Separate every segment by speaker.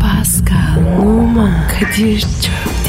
Speaker 1: Pascal, Oman, Kadir çok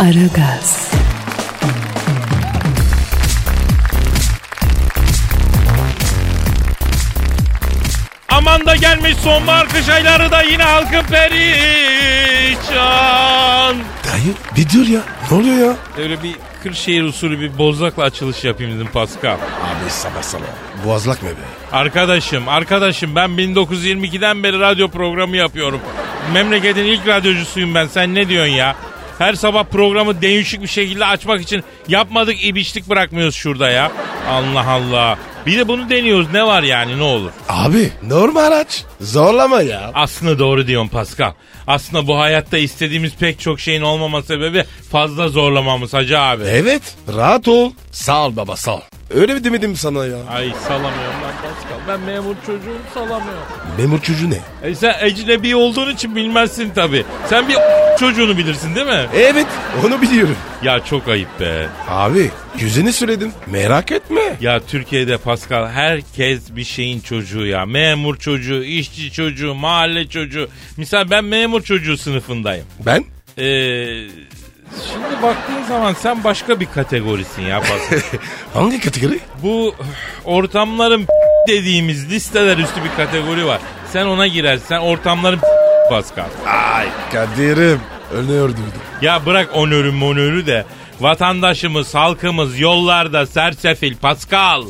Speaker 1: Aragaz,
Speaker 2: Aman da gelmiş sonbahar kış ayları da yine halkın perişan.
Speaker 3: Dayı bir dur ya. Ne oluyor ya?
Speaker 2: Öyle bir Kırşehir usulü bir bozlakla açılış yapayım dedim Pascal.
Speaker 3: Abi sabah sabah. Boğazlak mı be?
Speaker 2: Arkadaşım, arkadaşım ben 1922'den beri radyo programı yapıyorum. Memleketin ilk radyocusuyum ben. Sen ne diyorsun ya? Her sabah programı değişik bir şekilde açmak için yapmadık ibişlik bırakmıyoruz şurada ya. Allah Allah. Bir de bunu deniyoruz. Ne var yani ne olur?
Speaker 3: Abi normal aç. Zorlama ya.
Speaker 2: Aslında doğru diyorsun Pascal. Aslında bu hayatta istediğimiz pek çok şeyin olmama sebebi fazla zorlamamız hacı abi.
Speaker 3: Evet rahat ol. Sağ ol baba sağ ol. Öyle mi demedim sana ya?
Speaker 2: Ay salamıyorum ben Pascal. Ben memur çocuğum salamıyorum.
Speaker 3: Memur çocuğu ne?
Speaker 2: E sen ecnebi olduğun için bilmezsin tabi. Sen bir çocuğunu bilirsin değil mi?
Speaker 3: Evet onu biliyorum.
Speaker 2: Ya çok ayıp be.
Speaker 3: Abi yüzünü söyledim. Merak etme.
Speaker 2: Ya Türkiye'de Pascal herkes bir şeyin çocuğu ya. Memur çocuğu, işçi çocuğu, mahalle çocuğu. Misal ben memur çocuğu sınıfındayım.
Speaker 3: Ben?
Speaker 2: Ee, şimdi baktığın zaman sen başka bir kategorisin ya Pascal.
Speaker 3: Hangi kategori?
Speaker 2: Bu ortamların dediğimiz listeler üstü bir kategori var. Sen ona girersen ortamların Pascal.
Speaker 3: Ay Kadir'im. Örneği ördürdüm.
Speaker 2: Ya bırak onörü monörü de vatandaşımız, halkımız yollarda sersefil Pascal.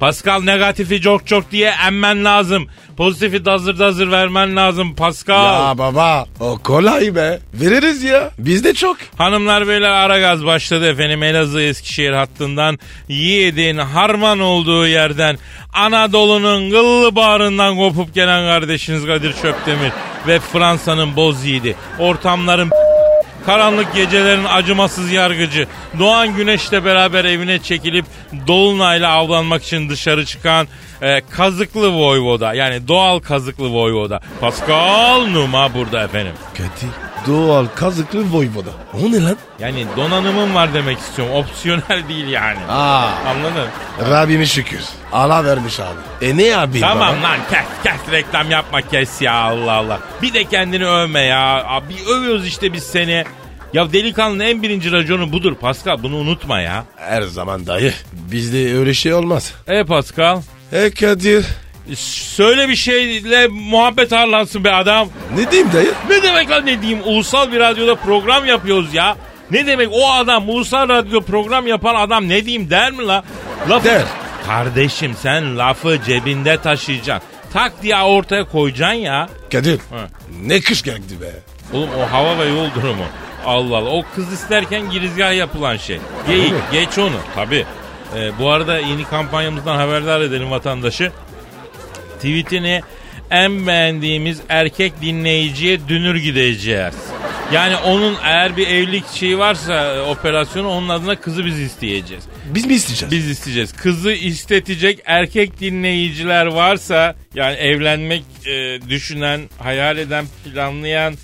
Speaker 2: Pascal negatifi çok çok diye emmen lazım. Pozitifi dazır dazır vermen lazım Pascal.
Speaker 3: Ya baba o kolay be. Veririz ya. Bizde çok.
Speaker 2: Hanımlar beyler ara gaz başladı efendim Elazığ Eskişehir hattından Yiğit'in harman olduğu yerden Anadolu'nun kıllı bağrından kopup gelen kardeşiniz Kadir Çöptemir ve Fransa'nın boz yiğidi ortamların karanlık gecelerin acımasız yargıcı Doğan Güneş'le beraber evine çekilip Dolunay'la avlanmak için dışarı çıkan e, kazıklı voyvoda yani doğal kazıklı voyvoda Pascal Numa burada efendim.
Speaker 3: Kadir. Doğal kazıklı voyvoda. O ne lan?
Speaker 2: Yani donanımım var demek istiyorum. Opsiyonel değil yani.
Speaker 3: Aa.
Speaker 2: Anladın?
Speaker 3: Rabbime şükür. Allah vermiş abi. E ne abi?
Speaker 2: Tamam
Speaker 3: baba?
Speaker 2: lan kes kes reklam yapma kes ya Allah Allah. Bir de kendini övme ya. Abi övüyoruz işte biz seni. Ya delikanlının en birinci raconu budur Pascal bunu unutma ya.
Speaker 3: Her zaman dayı. Bizde öyle şey olmaz.
Speaker 2: E Pascal
Speaker 3: E Kadir.
Speaker 2: söyle bir şeyle muhabbet harlansın be adam.
Speaker 3: Ne diyeyim dayı?
Speaker 2: Ne demek lan ne diyeyim ulusal bir radyoda program yapıyoruz ya. Ne demek o adam ulusal radyo program yapan adam ne diyeyim der mi la? Lafı...
Speaker 3: Der.
Speaker 2: Kardeşim sen lafı cebinde taşıyacaksın. Tak diye ortaya koyacaksın ya.
Speaker 3: Kadir.
Speaker 2: Ha.
Speaker 3: Ne kış geldi be.
Speaker 2: Oğlum o hava ve yol durumu. Allah Allah o kız isterken girizgah yapılan şey. Geyik
Speaker 3: mi?
Speaker 2: geç onu tabi. bu arada yeni kampanyamızdan haberdar edelim vatandaşı. Tweetini en beğendiğimiz erkek dinleyiciye dünür gideceğiz. Yani onun eğer bir evlilik şeyi varsa e, operasyonu onun adına kızı biz isteyeceğiz.
Speaker 3: Biz mi isteyeceğiz?
Speaker 2: Biz isteyeceğiz. Kızı istetecek erkek dinleyiciler varsa yani evlenmek e, düşünen, hayal eden, planlayan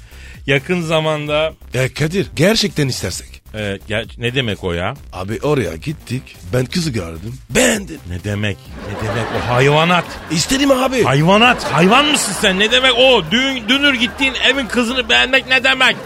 Speaker 2: yakın zamanda
Speaker 3: E Kadir gerçekten istersek.
Speaker 2: e, ya- ne demek o ya?
Speaker 3: Abi oraya gittik. Ben kızı gördüm. Beğendim.
Speaker 2: Ne demek? Ne demek o hayvanat?
Speaker 3: İstedim abi.
Speaker 2: Hayvanat. Hayvan mısın sen? Ne demek o? Dün dünür gittiğin evin kızını beğenmek ne demek?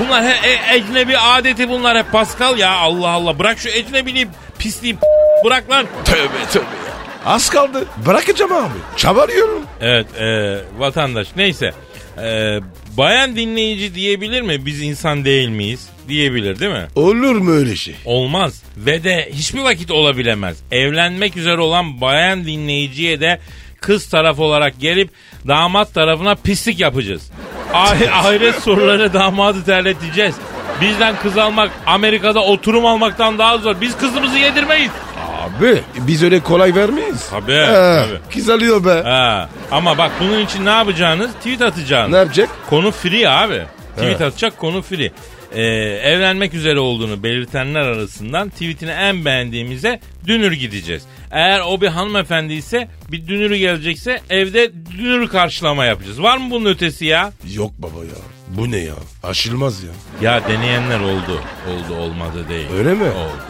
Speaker 2: Bunlar he, e, ecnebi adeti bunlar hep Pascal ya Allah Allah. Bırak şu ecnebiliği pisliği bırak lan.
Speaker 3: Tövbe tövbe ya. Az kaldı. Bırakacağım abi. Çabarıyorum.
Speaker 2: Evet e, vatandaş neyse E, bayan dinleyici diyebilir mi biz insan değil miyiz diyebilir değil mi?
Speaker 3: Olur mu öyle şey?
Speaker 2: Olmaz ve de hiçbir vakit olabilemez. Evlenmek üzere olan bayan dinleyiciye de kız taraf olarak gelip damat tarafına pislik yapacağız. Ah- ahiret soruları damadı terleteceğiz. Bizden kız almak Amerika'da oturum almaktan daha zor. Biz kızımızı yedirmeyiz.
Speaker 3: Abi biz öyle kolay vermeyiz.
Speaker 2: Tabii,
Speaker 3: Ee,
Speaker 2: tabii.
Speaker 3: Kızarıyor be.
Speaker 2: Ha. Ama bak bunun için ne yapacağınız? Tweet atacağınız.
Speaker 3: Ne yapacak?
Speaker 2: Konu free abi. Tweet atacak konu free. Ee, evlenmek üzere olduğunu belirtenler arasından tweetini en beğendiğimize dünür gideceğiz. Eğer o bir hanımefendi ise bir dünürü gelecekse evde dünür karşılama yapacağız. Var mı bunun ötesi ya?
Speaker 3: Yok baba ya. Bu ne ya? Aşılmaz ya.
Speaker 2: Ya deneyenler oldu. Oldu olmadı değil.
Speaker 3: Öyle mi?
Speaker 2: Oldu. oldu.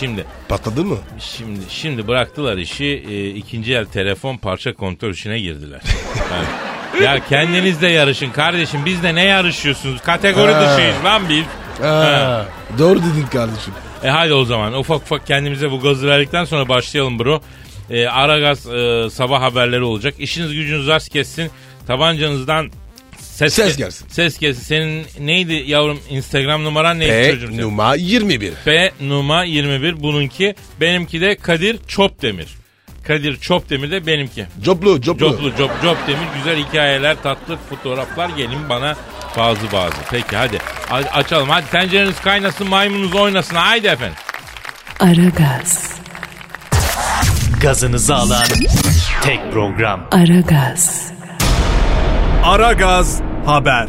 Speaker 2: Şimdi
Speaker 3: Patladı mı?
Speaker 2: Şimdi şimdi bıraktılar işi e, ikinci el telefon parça kontrol işine girdiler. Yani, ya kendiniz de yarışın kardeşim biz de ne yarışıyorsunuz? Kategori
Speaker 3: Ha.
Speaker 2: dışıyız lan biz.
Speaker 3: Ha. Doğru dedin kardeşim.
Speaker 2: E hadi o zaman ufak ufak kendimize bu gazı verdikten sonra başlayalım bro. E, Aragaz e, sabah haberleri olacak. İşiniz gücünüz az kessin. Tabancanızdan ses,
Speaker 3: Ses gelsin.
Speaker 2: Ses gelsin. Senin neydi yavrum Instagram numaran neydi
Speaker 3: E,
Speaker 2: çocuğum? senin?
Speaker 3: numara 21.
Speaker 2: B Numa 21 bununki. Benimki de Kadir Çopdemir. Kadir Çopdemir de benimki.
Speaker 3: Coplu, coplu.
Speaker 2: Coplu cop Çopdemir güzel hikayeler tatlı fotoğraflar gelin bana bazı bazı. Peki hadi A- açalım hadi tencereniz kaynasın maymununuz oynasın haydi efendim.
Speaker 1: Aragaz,
Speaker 4: Gazınızı alan tek program.
Speaker 1: Aragaz,
Speaker 4: Aragaz Haber.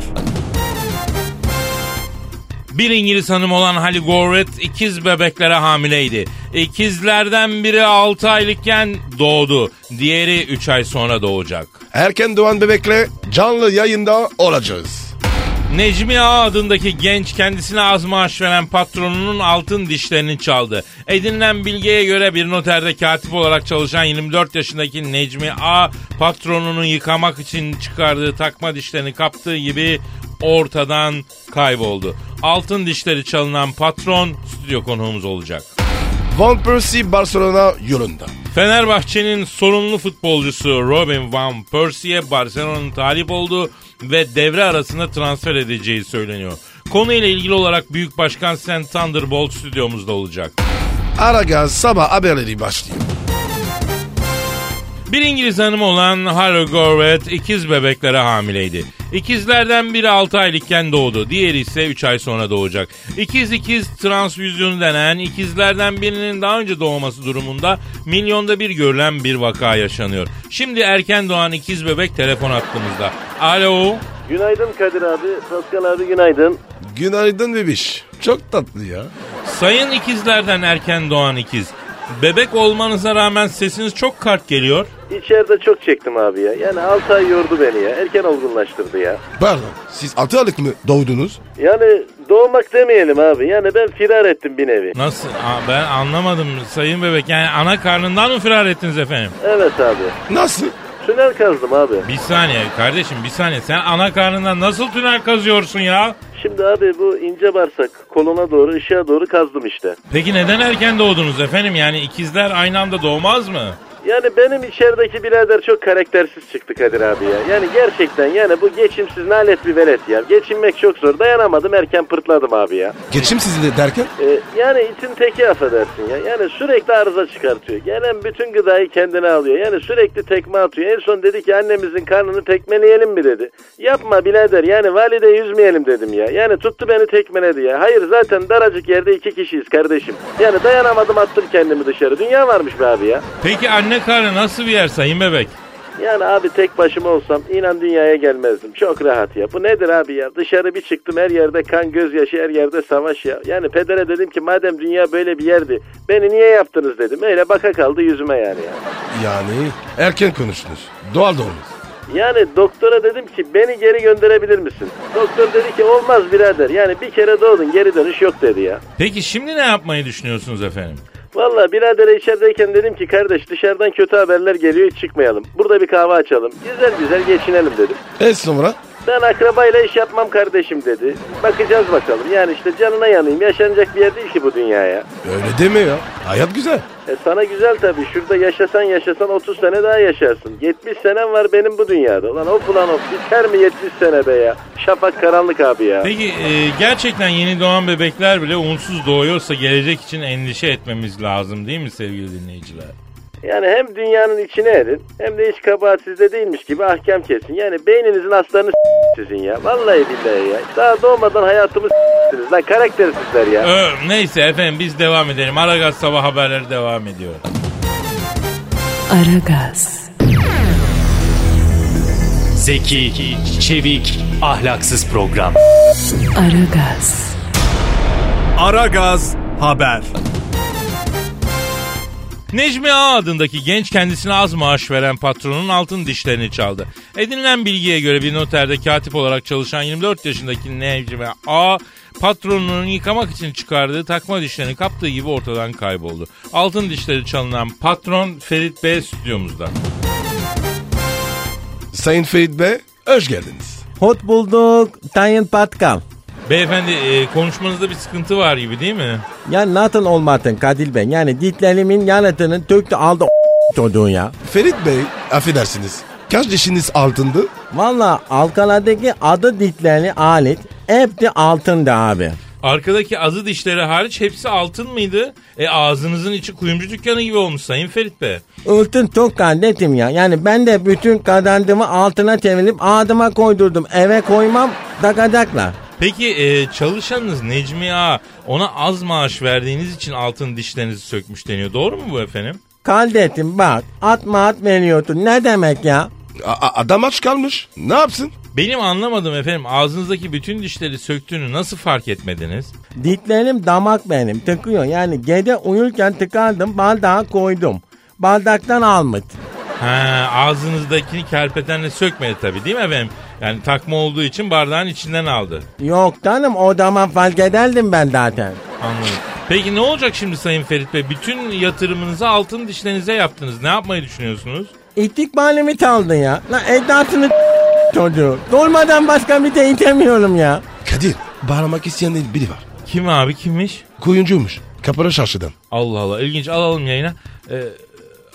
Speaker 2: Bir İngiliz hanım olan Halle Gorret ikiz bebeklere hamileydi. İkizlerden biri 6 aylıkken doğdu. Diğeri 3 ay sonra doğacak.
Speaker 3: Erken doğan bebekle canlı yayında olacağız.
Speaker 2: Necmi Ağa adındaki genç kendisine az maaş veren patronunun altın dişlerini çaldı. Edinilen bilgiye göre bir noterde katip olarak çalışan 24 yaşındaki Necmi A patronunun yıkamak için çıkardığı takma dişlerini kaptığı gibi ortadan kayboldu. Altın dişleri çalınan patron stüdyo konuğumuz olacak.
Speaker 3: Van Persie Barcelona yolunda.
Speaker 2: Fenerbahçe'nin sorumlu futbolcusu Robin Van Persie'ye Barcelona'nın talip olduğu ve devre arasında transfer edeceği söyleniyor. Konuyla ilgili olarak Büyük Başkan Sen Thunderbolt stüdyomuzda olacak.
Speaker 3: Aragaz sabah haberleri başlıyor.
Speaker 2: Bir İngiliz hanım olan Harry Gorvet ikiz bebeklere hamileydi. İkizlerden biri 6 aylıkken doğdu, diğeri ise 3 ay sonra doğacak. İkiz ikiz transfüzyonu denen ikizlerden birinin daha önce doğması durumunda milyonda bir görülen bir vaka yaşanıyor. Şimdi erken doğan ikiz bebek telefon hattımızda. Alo.
Speaker 5: Günaydın Kadir abi, Pascal abi günaydın.
Speaker 3: Günaydın bebiş. Çok tatlı ya.
Speaker 2: Sayın ikizlerden erken doğan ikiz. Bebek olmanıza rağmen sesiniz çok kart geliyor.
Speaker 5: İçeride çok çektim abi ya. Yani 6 ay yordu beni ya. Erken olgunlaştırdı ya.
Speaker 3: Pardon siz altı aylık mı doğdunuz?
Speaker 5: Yani doğmak demeyelim abi. Yani ben firar ettim bir nevi.
Speaker 2: Nasıl? Aa, ben anlamadım sayın bebek. Yani ana karnından mı firar ettiniz efendim?
Speaker 5: Evet abi.
Speaker 3: Nasıl?
Speaker 5: Tünel kazdım abi.
Speaker 2: Bir saniye kardeşim bir saniye. Sen ana karnından nasıl tünel kazıyorsun ya?
Speaker 5: Şimdi abi bu ince bağırsak koluna doğru, ışığa doğru kazdım işte.
Speaker 2: Peki neden erken doğdunuz efendim? Yani ikizler aynı anda doğmaz mı?
Speaker 5: Yani benim içerideki birader çok karaktersiz çıktı Kadir abi ya. Yani gerçekten yani bu geçimsiz nalet bir velet ya. Geçinmek çok zor. Dayanamadım erken pırtladım abi ya.
Speaker 3: Geçim sizi derken?
Speaker 5: Ee, yani için teki affedersin ya. Yani sürekli arıza çıkartıyor. Gelen bütün gıdayı kendine alıyor. Yani sürekli tekme atıyor. En son dedi ki annemizin karnını tekmeleyelim mi dedi. Yapma birader yani valideyi üzmeyelim dedim ya. Yani tuttu beni tekmeledi ya. Hayır zaten daracık yerde iki kişiyiz kardeşim. Yani dayanamadım attım kendimi dışarı. Dünya varmış be abi ya.
Speaker 2: Peki anne karnı nasıl bir yer sayın bebek?
Speaker 5: Yani abi tek başıma olsam inan dünyaya gelmezdim. Çok rahat ya. Bu nedir abi ya? Dışarı bir çıktım her yerde kan gözyaşı her yerde savaş ya. Yani pedere dedim ki madem dünya böyle bir yerdi beni niye yaptınız dedim. Öyle baka kaldı yüzüme yani ya.
Speaker 3: Yani erken konuştunuz. Doğal doğmuş.
Speaker 5: Yani doktora dedim ki beni geri gönderebilir misin? Doktor dedi ki olmaz birader. Yani bir kere doğdun geri dönüş yok dedi ya.
Speaker 2: Peki şimdi ne yapmayı düşünüyorsunuz efendim?
Speaker 5: Valla biradere içerideyken dedim ki kardeş dışarıdan kötü haberler geliyor hiç çıkmayalım. Burada bir kahve açalım. Güzel güzel geçinelim dedim.
Speaker 3: E sonra?
Speaker 5: Ben akrabayla iş yapmam kardeşim dedi. Bakacağız bakalım. Yani işte canına yanayım. Yaşanacak bir yer değil ki bu dünyaya.
Speaker 3: Öyle deme ya. Hayat güzel.
Speaker 5: E sana güzel tabii. Şurada yaşasan yaşasan 30 sene daha yaşarsın. 70 senem var benim bu dünyada. Lan of ulan of. Biter mi 70 sene be ya? Şafak karanlık abi ya.
Speaker 2: Peki e, gerçekten yeni doğan bebekler bile unsuz doğuyorsa gelecek için endişe etmemiz lazım değil mi sevgili dinleyiciler?
Speaker 5: Yani hem dünyanın içine erin hem de hiç kabahat sizde değilmiş gibi ahkam kesin. Yani beyninizin aslarını s- sizin ya. Vallahi billahi ya. Daha doğmadan hayatımı s**tiniz lan karaktersizler ya.
Speaker 2: Ö, neyse efendim biz devam edelim. Aragaz sabah haberleri devam ediyor.
Speaker 1: Aragaz,
Speaker 4: Zeki, çevik, ahlaksız program.
Speaker 1: Aragaz,
Speaker 6: Aragaz Haber.
Speaker 2: Necmi Ağa adındaki genç kendisine az maaş veren patronun altın dişlerini çaldı. Edinilen bilgiye göre bir noterde katip olarak çalışan 24 yaşındaki Necmi A patronunun yıkamak için çıkardığı takma dişlerini kaptığı gibi ortadan kayboldu. Altın dişleri çalınan patron Ferit B stüdyomuzda.
Speaker 3: Sayın Ferit Bey hoş geldiniz.
Speaker 7: Hot bulduk Tayin Patkal.
Speaker 2: Beyefendi e, konuşmanızda bir sıkıntı var gibi değil mi?
Speaker 7: Yani natın olmatın Kadir ben. Yani ditlerimin yanıtını töktü aldı çocuğun ya.
Speaker 3: Ferit Bey affedersiniz. Kaç dişiniz altındı?
Speaker 7: Valla Alkala'daki adı ditlerli alet hep de altındı abi.
Speaker 2: Arkadaki azı dişleri hariç hepsi altın mıydı? E ağzınızın içi kuyumcu dükkanı gibi olmuş Sayın Ferit Bey.
Speaker 7: Altın çok kardeşim ya. Yani ben de bütün kazandığımı altına çevirip adıma koydurdum. Eve koymam takacaklar.
Speaker 2: Peki e, çalışanınız Necmi Ağa ona az maaş verdiğiniz için altın dişlerinizi sökmüş deniyor. Doğru mu bu efendim?
Speaker 7: Kardeşim bak atma at veriyorsun ne demek ya?
Speaker 3: A- a- adam aç kalmış. Ne yapsın?
Speaker 2: Benim anlamadım efendim ağzınızdaki bütün dişleri söktüğünü nasıl fark etmediniz?
Speaker 7: Diklerim damak benim tıkıyor. Yani gece uyurken tıkandım bardağa koydum. Bardaktan almış.
Speaker 2: Ha, ağzınızdakini kerpetenle sökmedi tabii değil mi efendim? Yani takma olduğu için bardağın içinden aldı.
Speaker 7: Yok canım o zaman fark ederdim ben zaten.
Speaker 2: Anladım. Peki ne olacak şimdi Sayın Ferit Bey? Bütün yatırımınızı altın dişlerinize yaptınız. Ne yapmayı düşünüyorsunuz?
Speaker 7: İstikbalimi çaldın ya. Lan edasını çocuğu. Durmadan başka bir şey itemiyorum ya.
Speaker 3: Kadir bağlamak isteyen biri var.
Speaker 2: Kim abi kimmiş?
Speaker 3: Kuyuncuymuş. Kapara çarşıdan.
Speaker 2: Allah Allah ilginç alalım yayına. Ee,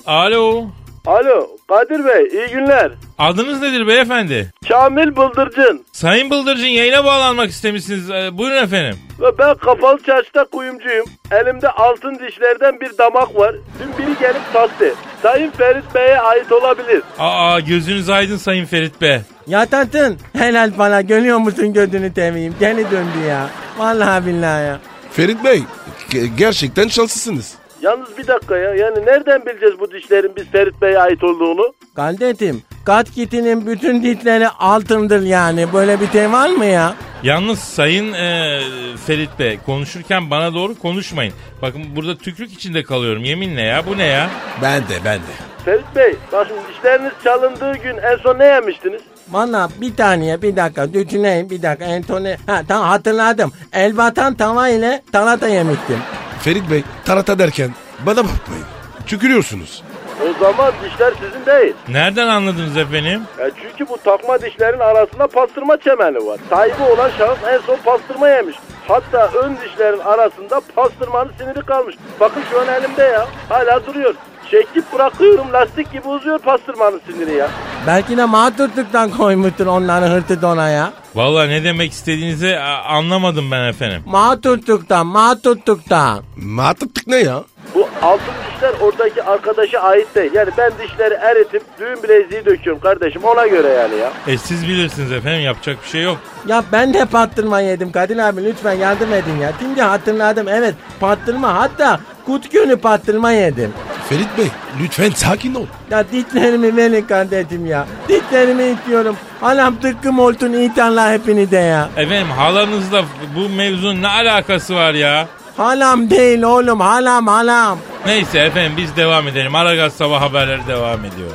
Speaker 2: alo.
Speaker 5: Alo Kadir Bey iyi günler.
Speaker 2: Adınız nedir beyefendi?
Speaker 5: Kamil Bıldırcın.
Speaker 2: Sayın Bıldırcın yayına bağlanmak istemişsiniz. Ee, buyurun efendim.
Speaker 5: Ve ben kafalı çarşıda kuyumcuyum. Elimde altın dişlerden bir damak var. Dün biri gelip taktı. Sayın Ferit Bey'e ait olabilir.
Speaker 2: Aa gözünüz aydın Sayın Ferit Bey.
Speaker 7: Yatatın helal bana görüyor musun gözünü temeyim. Geri döndü ya. Vallahi billahi ya.
Speaker 3: Ferit Bey ge- gerçekten şanslısınız.
Speaker 5: Yalnız bir dakika ya. Yani nereden bileceğiz bu dişlerin biz Ferit Bey'e ait olduğunu?
Speaker 7: Kardeşim kat kitinin bütün ditleri altındır yani. Böyle bir şey var mı ya?
Speaker 2: Yalnız Sayın e, Ferit Bey konuşurken bana doğru konuşmayın. Bakın burada tükürük içinde kalıyorum yeminle ya bu ne ya?
Speaker 3: Ben de ben de.
Speaker 5: Ferit Bey bak şimdi dişleriniz çalındığı gün en son ne yemiştiniz?
Speaker 7: Bana bir tane bir dakika düşüneyim bir dakika Entone ha tamam hatırladım Elbatan tava ile talata yemiştim.
Speaker 3: Ferit Bey tarata derken bana bakmayın. Tükürüyorsunuz.
Speaker 5: O zaman dişler sizin değil.
Speaker 2: Nereden anladınız efendim?
Speaker 5: Ya çünkü bu takma dişlerin arasında pastırma çemeni var. Sahibi olan şahıs en son pastırma yemiş. Hatta ön dişlerin arasında pastırmanın siniri kalmış. Bakın şu an elimde ya. Hala duruyor. Çekip bırakıyorum lastik gibi uzuyor pastırmanın siniri ya.
Speaker 7: Belki de mağdurluktan koymuştur onları hırtı dona ya.
Speaker 2: Vallahi ne demek istediğinizi a, anlamadım ben efendim.
Speaker 7: Mağdurluktan mağdurluktan.
Speaker 3: Matlıktık ne ya?
Speaker 5: Bu altın dişler oradaki arkadaşa ait değil. Yani ben dişleri eritip düğün bileziği döküyorum kardeşim ona göre yani ya.
Speaker 2: E siz bilirsiniz efendim yapacak bir şey yok.
Speaker 7: Ya ben de pastırma yedim Kadir abi lütfen yardım edin ya. Şimdi hatırladım evet pastırma hatta kut günü pastırma yedim.
Speaker 3: Ferit Bey lütfen sakin ol.
Speaker 7: Ya ditlerimi verin kardeşim ya. Ditlerimi itiyorum. Anam tıkkım olsun itanla hepini de ya.
Speaker 2: Efendim halanızla bu mevzunun ne alakası var ya?
Speaker 7: Halam değil oğlum halam halam.
Speaker 2: Neyse efendim biz devam edelim. Aragaz sabah haberleri devam ediyor.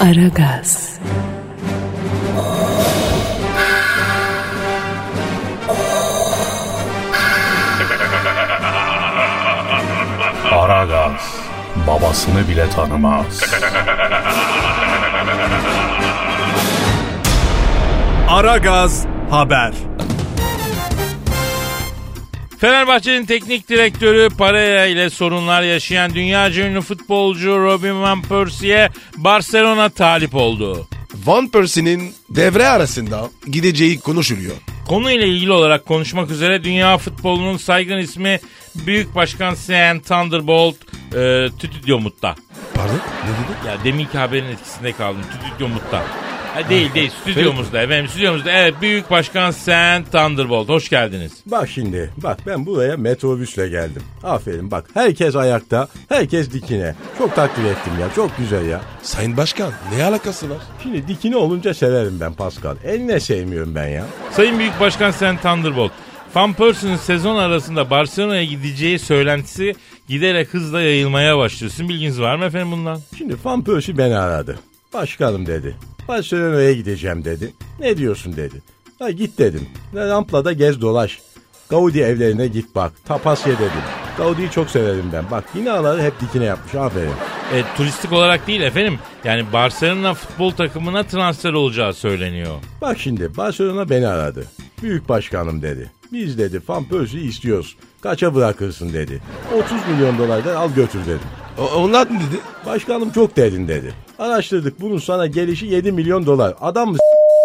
Speaker 1: Aragaz,
Speaker 4: Aragaz babasını bile tanımaz.
Speaker 6: Aragaz Haber.
Speaker 2: Fenerbahçe'nin teknik direktörü Pareja ile sorunlar yaşayan dünyaca ünlü futbolcu Robin Van Persie'ye Barcelona talip oldu.
Speaker 3: Van Persie'nin devre arasında gideceği konuşuluyor.
Speaker 2: Konuyla ilgili olarak konuşmak üzere dünya futbolunun saygın ismi Büyük Başkan Sean Thunderbolt e, Tütüdyomut'ta.
Speaker 3: Pardon ne dedi?
Speaker 2: Ya deminki haberin etkisinde kaldım Tütüdyomut'ta. Ha, değil değil stüdyomuzda efendim stüdyomuzda. Evet Büyük Başkan Sen Thunderbolt hoş geldiniz.
Speaker 8: Bak şimdi bak ben buraya metrobüsle geldim. Aferin bak herkes ayakta herkes dikine. Çok takdir ettim ya çok güzel ya.
Speaker 3: Sayın Başkan ne alakası var?
Speaker 8: Şimdi dikine olunca severim ben Pascal. Eline sevmiyorum ben ya.
Speaker 2: Sayın Büyük Başkan Sen Thunderbolt. Van Persie'nin sezon arasında Barcelona'ya gideceği söylentisi giderek hızla yayılmaya başlıyor. Sizin bilginiz var mı efendim bundan?
Speaker 8: Şimdi Van Persie beni aradı. Başkanım dedi. Barcelona'ya gideceğim dedi. Ne diyorsun dedi. Ha git dedim. Rampla'da gez dolaş. Gaudi evlerine git bak. Tapas ye dedim. Gaudi'yi çok severim ben. Bak binaları hep dikine yapmış. Aferin.
Speaker 2: E, turistik olarak değil efendim. Yani Barcelona futbol takımına transfer olacağı söyleniyor.
Speaker 8: Bak şimdi Barcelona beni aradı. Büyük başkanım dedi. Biz dedi Van Persie'yi istiyoruz. Kaça bırakırsın dedi. 30 milyon dolardan al götür dedim.
Speaker 3: O, onlar ne dedi?
Speaker 8: Başkanım çok derin dedi. Araştırdık bunun sana gelişi 7 milyon dolar. Adam mı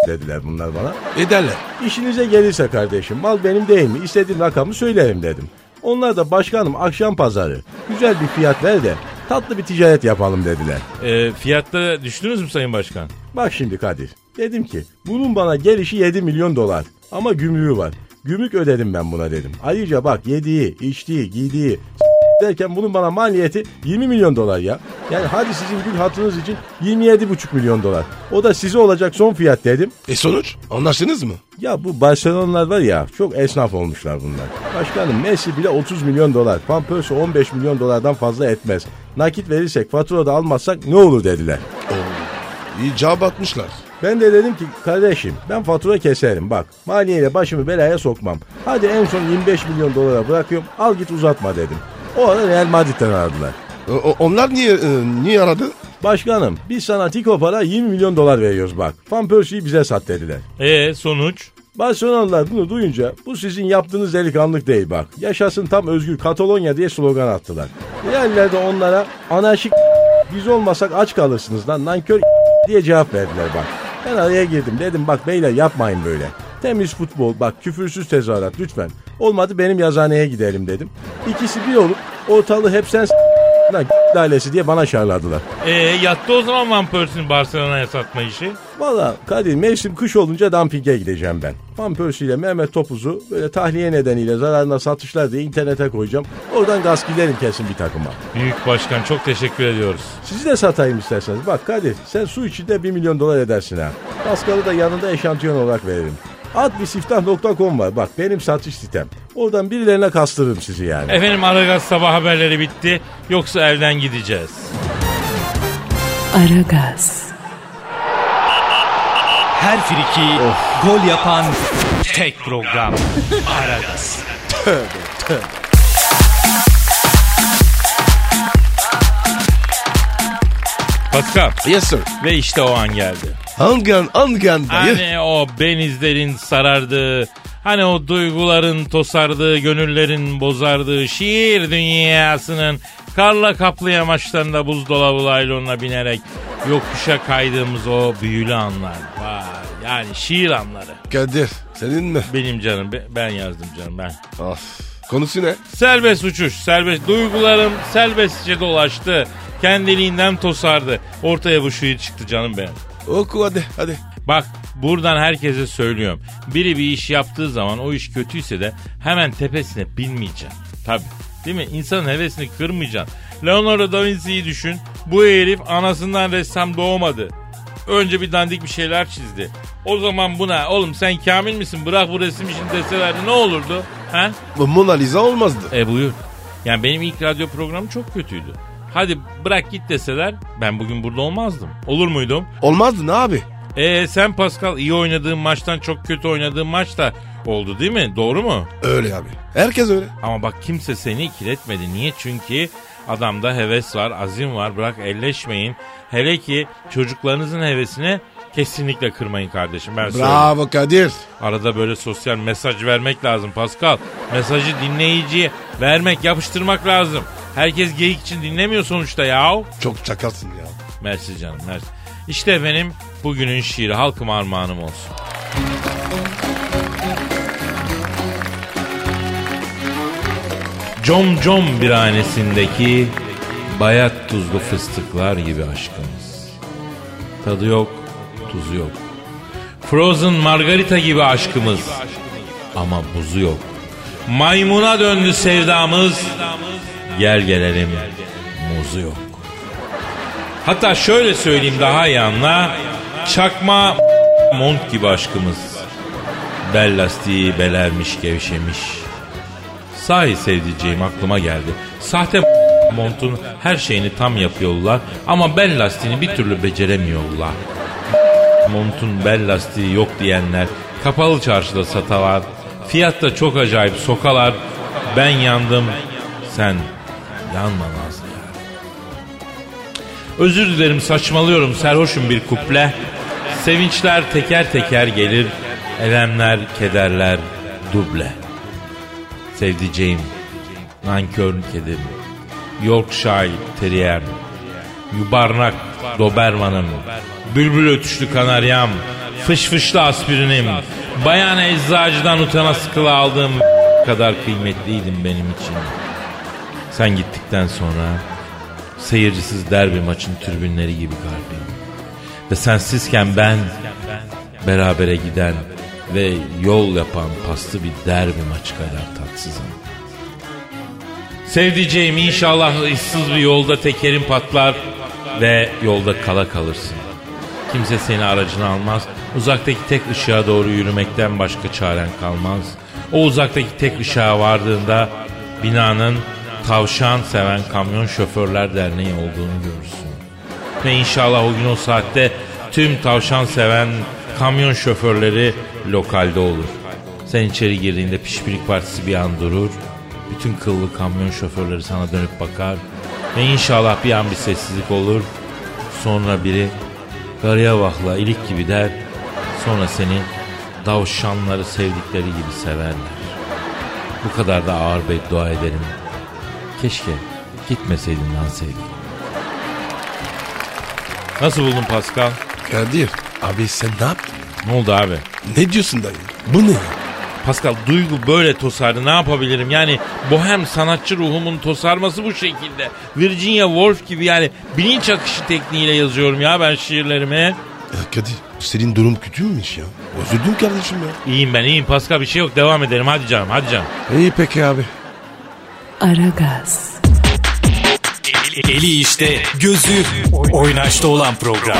Speaker 8: s- dediler bunlar bana.
Speaker 3: Ederler.
Speaker 8: İşinize gelirse kardeşim mal benim değil mi? İstediğim rakamı söylerim dedim. Onlar da başkanım akşam pazarı güzel bir fiyat ver de tatlı bir ticaret yapalım dediler.
Speaker 2: E, fiyatta düştünüz mü Sayın Başkan?
Speaker 8: Bak şimdi Kadir. Dedim ki bunun bana gelişi 7 milyon dolar. Ama gümrüğü var. Gümrük ödedim ben buna dedim. Ayrıca bak yediği, içtiği, giydiği s- derken bunun bana maliyeti 20 milyon dolar ya. Yani hadi sizin gül hatınız için 27,5 milyon dolar. O da size olacak son fiyat dedim.
Speaker 3: E sonuç? Anlaştınız mı?
Speaker 8: Ya bu Barcelona'lar var ya çok esnaf olmuşlar bunlar. Başkanım Messi bile 30 milyon dolar. Van Persie 15 milyon dolardan fazla etmez. Nakit verirsek fatura da almazsak ne olur dediler.
Speaker 3: İyi cevap atmışlar.
Speaker 8: Ben de dedim ki kardeşim ben fatura keserim bak. Maliyeyle başımı belaya sokmam. Hadi en son 25 milyon dolara bırakıyorum al git uzatma dedim. O ara Real Madrid'den aradılar.
Speaker 3: O- o- onlar niye e, niye aradı?
Speaker 8: Başkanım biz sana Tiko para 20 milyon dolar veriyoruz bak. Van Persie'yi bize sat dediler.
Speaker 2: E sonuç?
Speaker 8: Barcelonalılar bunu duyunca bu sizin yaptığınız delikanlık değil bak. Yaşasın tam özgür Katalonya diye slogan attılar. Realler de onlara anarşik biz olmasak aç kalırsınız lan nankör diye cevap verdiler bak. Ben araya girdim dedim bak beyler yapmayın böyle. Temiz futbol bak küfürsüz tezahürat lütfen. Olmadı benim yazhaneye gidelim dedim. İkisi bir olup ortalığı hep sen s- lan ailesi diye bana şarladılar.
Speaker 2: E yattı o zaman Van Persie'nin Barcelona'ya satma işi.
Speaker 8: Valla Kadir mevsim kış olunca dumpinge gideceğim ben. Van Persie ile Mehmet Topuz'u böyle tahliye nedeniyle zararına satışlar diye internete koyacağım. Oradan gaz giderim kesin bir takıma.
Speaker 2: Büyük Başkan çok teşekkür ediyoruz.
Speaker 8: Sizi de satayım isterseniz. Bak Kadir sen su içinde 1 milyon dolar edersin ha. Paskal'ı da yanında eşantiyon olarak veririm. Adbisiftah.com var bak benim satış sitem. Oradan birilerine kastırırım sizi yani.
Speaker 2: Efendim Aragaz sabah haberleri bitti. Yoksa elden gideceğiz.
Speaker 1: Aragaz,
Speaker 4: Her friki gol yapan tek program. Aragaz.
Speaker 2: Pascal
Speaker 3: Yes sir.
Speaker 2: ve işte o an geldi.
Speaker 3: Hangan hangan dayı.
Speaker 2: Hani o benizlerin sarardığı, hani o duyguların tosardığı, gönüllerin bozardığı şiir dünyasının karla kaplı yamaçlarında buzdolabı laylonuna binerek yokuşa kaydığımız o büyülü anlar. Vay, yani şiir anları.
Speaker 3: Kadir senin mi?
Speaker 2: Benim canım, be- ben yazdım canım ben.
Speaker 3: Of. Konusu ne?
Speaker 2: Serbest uçuş, serbest duygularım serbestçe dolaştı. Kendiliğinden tosardı. Ortaya bu şiir çıktı canım benim.
Speaker 3: Oku hadi hadi.
Speaker 2: Bak buradan herkese söylüyorum. Biri bir iş yaptığı zaman o iş kötüyse de hemen tepesine binmeyeceksin. Tabii. Değil mi? İnsanın hevesini kırmayacaksın. Leonardo da Vinci'yi düşün. Bu herif anasından ressam doğmadı. Önce bir dandik bir şeyler çizdi. O zaman buna oğlum sen kamil misin bırak bu resim işini deselerdi ne olurdu? Ha?
Speaker 3: Bu Mona Lisa olmazdı.
Speaker 2: E buyur. Yani benim ilk radyo programım çok kötüydü. Hadi bırak git deseler ben bugün burada olmazdım. Olur muydum?
Speaker 3: Olmazdın abi.
Speaker 2: Ee sen Pascal iyi oynadığın maçtan çok kötü oynadığın maç da oldu değil mi? Doğru mu?
Speaker 3: Öyle abi. Herkes öyle.
Speaker 2: Ama bak kimse seni ikiletmedi. Niye? Çünkü adamda heves var, azim var. Bırak elleşmeyin. Hele ki çocuklarınızın hevesini kesinlikle kırmayın kardeşim. Ben söyleyeyim.
Speaker 3: Bravo Kadir.
Speaker 2: Arada böyle sosyal mesaj vermek lazım Pascal. Mesajı dinleyiciye vermek, yapıştırmak lazım. Herkes geyik için dinlemiyor sonuçta yahu.
Speaker 3: Çok çakalsın ya.
Speaker 2: Mersi canım mersi. İşte efendim bugünün şiiri halkıma armağanım olsun. Comcom biranesindeki bayat tuzlu fıstıklar gibi aşkımız. Tadı yok, tuzu yok. Frozen Margarita gibi aşkımız. Ama buzu yok. Maymuna döndü sevdamız. Gel gelelim muzu yok. Hatta şöyle söyleyeyim daha iyi anla. Çakma mont gibi aşkımız. Bel lastiği belermiş gevşemiş. Sahi sevdiceğim aklıma geldi. Sahte montun her şeyini tam yapıyorlar ama bel lastiğini bir türlü beceremiyorlar. Montun bel lastiği yok diyenler kapalı çarşıda satalar. Fiyat da çok acayip sokalar. Ben yandım. Sen yanma Nazlı ya. Özür dilerim saçmalıyorum serhoşum bir kuple. Sevinçler teker teker gelir. Elemler, kederler duble. Sevdiceğim, nankör kedim, Yorkshire Terrier, yubarnak Doberman'ım, bülbül ötüşlü kanaryam, fış fışlı aspirinim, bayan eczacıdan utana sıkıla aldığım kadar kıymetliydin benim için. Sen gittikten sonra seyircisiz derbi maçın tribünleri gibi kalbim. Ve sensizken ben berabere giden ve yol yapan paslı bir derbi maçı kadar tatsızım. Sevdiceğim inşallah ıssız bir yolda tekerin patlar ve yolda kala kalırsın. Kimse seni aracına almaz. Uzaktaki tek ışığa doğru yürümekten başka çaren kalmaz. O uzaktaki tek ışığa vardığında binanın tavşan seven kamyon şoförler derneği olduğunu görürsün. Ve inşallah o gün o saatte tüm tavşan seven kamyon şoförleri lokalde olur. Sen içeri girdiğinde pişpirik partisi bir an durur. Bütün kıllı kamyon şoförleri sana dönüp bakar. Ve inşallah bir an bir sessizlik olur. Sonra biri karıya bakla ilik gibi der. Sonra seni tavşanları sevdikleri gibi severler. Bu kadar da ağır beddua ederim. Keşke gitmeseydin lan sevgilim. Nasıl buldun Pascal?
Speaker 3: Kadir abi sen ne yaptın?
Speaker 2: Ne oldu abi?
Speaker 3: Ne diyorsun dayı? Bu ne?
Speaker 2: Pascal duygu böyle tosardı ne yapabilirim yani bohem sanatçı ruhumun tosarması bu şekilde. Virginia Woolf gibi yani bilinç akışı tekniğiyle yazıyorum ya ben şiirlerimi.
Speaker 3: Ya Kadir senin durum kötü müymüş ya? Üzüldüm kardeşim ya.
Speaker 2: İyiyim ben iyiyim Pascal bir şey yok devam edelim hadi canım hadi canım.
Speaker 3: İyi peki abi.
Speaker 1: Aragaz,
Speaker 6: Eli işte, gözü oynaşta olan program.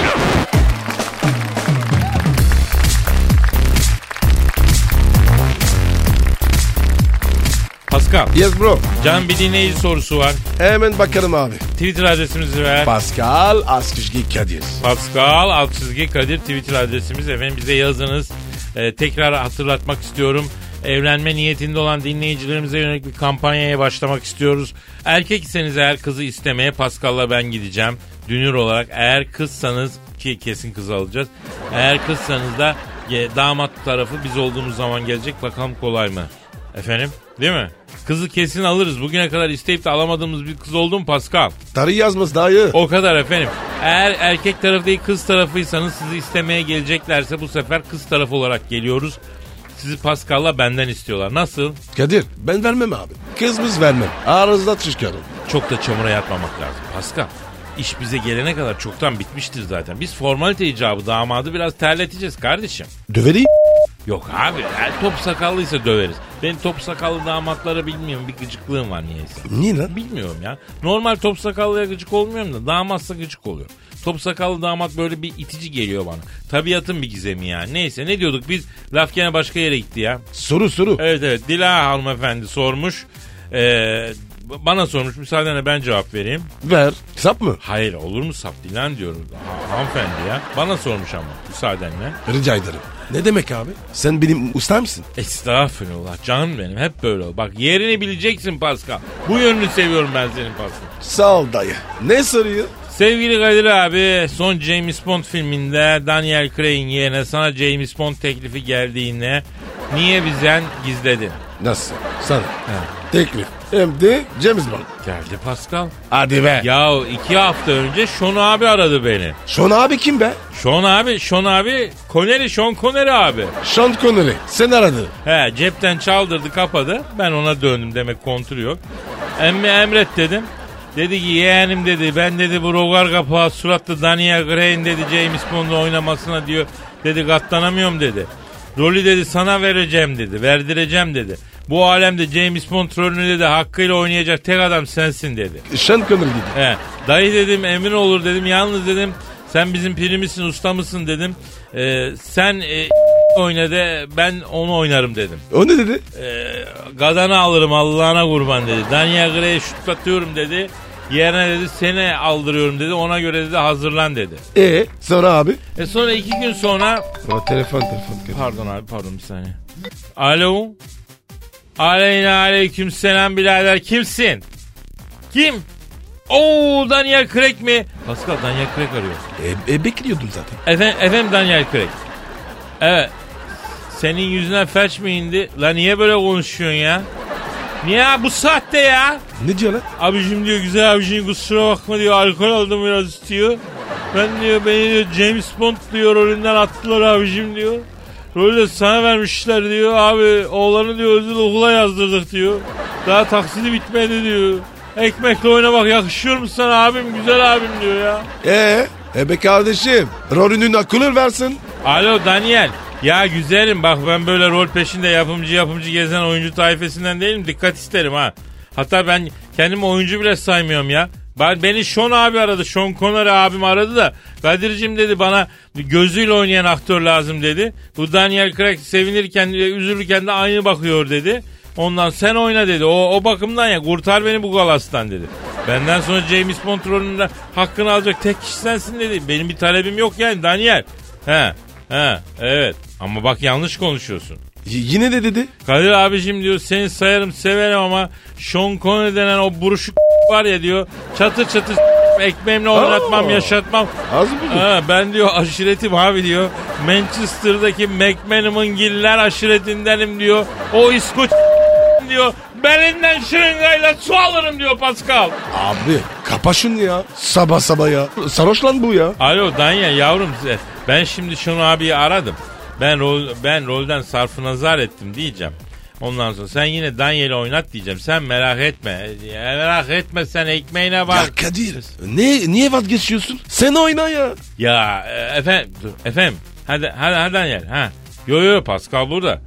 Speaker 2: Pascal
Speaker 3: Yes bro.
Speaker 2: canım bir dinleyici sorusu var.
Speaker 3: Hemen bakarım abi.
Speaker 2: Twitter adresimizi ver.
Speaker 3: Pascal Askışgi Kadir.
Speaker 2: Pascal alt çizgi Kadir Twitter adresimiz efendim bize yazınız. Ee, tekrar hatırlatmak istiyorum. Evlenme niyetinde olan dinleyicilerimize yönelik bir kampanyaya başlamak istiyoruz. Erkek iseniz eğer kızı istemeye Pascal'la ben gideceğim. Dünür olarak eğer kızsanız ki kesin kız alacağız. Eğer kızsanız da e, damat tarafı biz olduğumuz zaman gelecek. Bakalım kolay mı? Efendim değil mi? Kızı kesin alırız. Bugüne kadar isteyip de alamadığımız bir kız oldu mu Pascal?
Speaker 3: Tarih yazmaz dayı.
Speaker 2: O kadar efendim. Eğer erkek tarafı değil kız tarafıysanız sizi istemeye geleceklerse bu sefer kız tarafı olarak geliyoruz. Sizi Pascal'la benden istiyorlar. Nasıl?
Speaker 3: Kadir ben vermem abi. Kızımız vermem. Arızda çıkarım.
Speaker 2: Çok da çamura yatmamak lazım. Pascal iş bize gelene kadar çoktan bitmiştir zaten. Biz formalite icabı damadı biraz terleteceğiz kardeşim.
Speaker 3: Dövereyim.
Speaker 2: Yok abi her top sakallıysa döveriz. Benim top sakallı damatlara bilmiyorum bir gıcıklığım var niyeyse.
Speaker 3: Niye lan?
Speaker 2: Bilmiyorum ya. Normal top sakallıya gıcık olmuyorum da damatsa gıcık oluyorum. Top sakallı damat böyle bir itici geliyor bana. Tabiatın bir gizemi ya. Neyse ne diyorduk biz laf gene başka yere gitti ya.
Speaker 3: Soru soru.
Speaker 2: Evet evet Dila hanımefendi sormuş. Ee, bana sormuş müsaadenle ben cevap vereyim.
Speaker 3: Ver. Sap mı?
Speaker 2: Hayır olur mu sap Dilan diyorum. Ha, hanımefendi ya. Bana sormuş ama müsaadenle.
Speaker 3: Rica ederim. Ne demek abi? Sen benim usta mısın?
Speaker 2: Estağfurullah canım benim hep böyle ol. Bak yerini bileceksin Pascal. Bu yönünü seviyorum ben senin Pascal.
Speaker 3: Sağ ol dayı. Ne soruyor?
Speaker 2: Sevgili Kadir abi son James Bond filminde Daniel Craig'in yerine sana James Bond teklifi geldiğinde niye bizden gizledin?
Speaker 3: Nasıl? Sana. Teklif. Hem de James Bond.
Speaker 2: Geldi Pascal.
Speaker 3: Hadi be.
Speaker 2: Ya iki hafta önce Sean abi aradı beni.
Speaker 3: Sean abi kim be?
Speaker 2: Sean abi, Sean abi, Connery, Sean Connery abi.
Speaker 3: Sean Connery. Sen aradın.
Speaker 2: He cepten çaldırdı kapadı. Ben ona döndüm demek kontürü yok. Emmi emret dedim. Dedi ki yeğenim dedi ben dedi bu rogar kapağı suratlı Daniel Gray'in dedi James Bond'u oynamasına diyor. Dedi katlanamıyorum dedi. Rolü dedi sana vereceğim dedi. Verdireceğim dedi. Bu alemde James Bond rolünü dedi hakkıyla oynayacak tek adam sensin dedi.
Speaker 3: Sean Connery gibi.
Speaker 2: He. Dayı dedim emin olur dedim. Yalnız dedim sen bizim pirimisin ustamısın dedim. Ee, sen e, oyna de ben onu oynarım dedim.
Speaker 3: O ne dedi?
Speaker 2: Gadanı alırım Allah'ına kurban dedi. Daniel Gray'i şutlatıyorum dedi. Yerine dedi seni aldırıyorum dedi. Ona göre dedi hazırlan dedi.
Speaker 3: E sonra abi.
Speaker 2: E sonra iki gün sonra...
Speaker 3: Sonra telefon telefon.
Speaker 2: Pardon abi pardon bir saniye. Alo. Aleyna aleyküm selam birader kimsin? Kim? Oo Daniel Craig mi? Pascal Daniel Craig arıyor.
Speaker 3: E, e, bekliyordum zaten.
Speaker 2: Efendim, efendim Daniel Craig. Evet. Senin yüzüne felç mi indi? La niye böyle konuşuyorsun ya? Niye ya? bu sahte ya?
Speaker 3: Ne diyor lan?
Speaker 2: Abicim diyor güzel abicim kusura bakma diyor alkol aldım biraz diyor. Ben diyor beni diyor James Bond diyor rolünden attılar abicim diyor. Rolü de sana vermişler diyor abi oğlanı diyor özel okula yazdırdık diyor. Daha taksidi bitmedi diyor. Ekmekle oynamak yakışıyor mu sana abim güzel abim diyor ya.
Speaker 3: E, e be kardeşim. Rolünün akılır versin.
Speaker 2: Alo Daniel. Ya güzelim bak ben böyle rol peşinde yapımcı yapımcı gezen oyuncu tayfesinden değilim. Dikkat isterim ha. Hatta ben kendimi oyuncu bile saymıyorum ya. Ben, beni Sean abi aradı. Sean Connery abim aradı da. Kadir'cim dedi bana gözüyle oynayan aktör lazım dedi. Bu Daniel Craig sevinirken, e, üzülürken de aynı bakıyor dedi. Ondan sen oyna dedi. O, o bakımdan ya kurtar beni bu galastan dedi. Benden sonra James Bond rolünde hakkını alacak tek kişi sensin dedi. Benim bir talebim yok yani Daniel. He. He. Evet. Ama bak yanlış konuşuyorsun.
Speaker 3: Y- yine de dedi.
Speaker 2: Kadir abicim diyor seni sayarım severim ama Sean Connery denen o buruşuk var ya diyor çatır çatır ekmeğimle oynatmam
Speaker 3: Oo.
Speaker 2: yaşatmam.
Speaker 3: Az mı buldun?
Speaker 2: Ha, ben diyor aşiretim abi diyor. Manchester'daki McManam'ın giller aşiretindenim diyor. O İskoç diyor. Belinden şırıngayla su alırım diyor Pascal.
Speaker 3: Abi kapa şunu ya. Sabah sabah ya. Sarhoş lan bu ya.
Speaker 2: Alo Danya yavrum e, ben şimdi şunu abiyi aradım. Ben rol, ben rolden sarfı nazar ettim diyeceğim. Ondan sonra sen yine Danyel'i oynat diyeceğim. Sen merak etme. E, merak etme sen ekmeğine bak.
Speaker 3: Ya Kadir. Ne, niye vazgeçiyorsun? Sen oyna ya.
Speaker 2: Ya e, efendim dur, efendim. Hadi hadi hadi Daniel. Ha. Yo yo Pascal burada.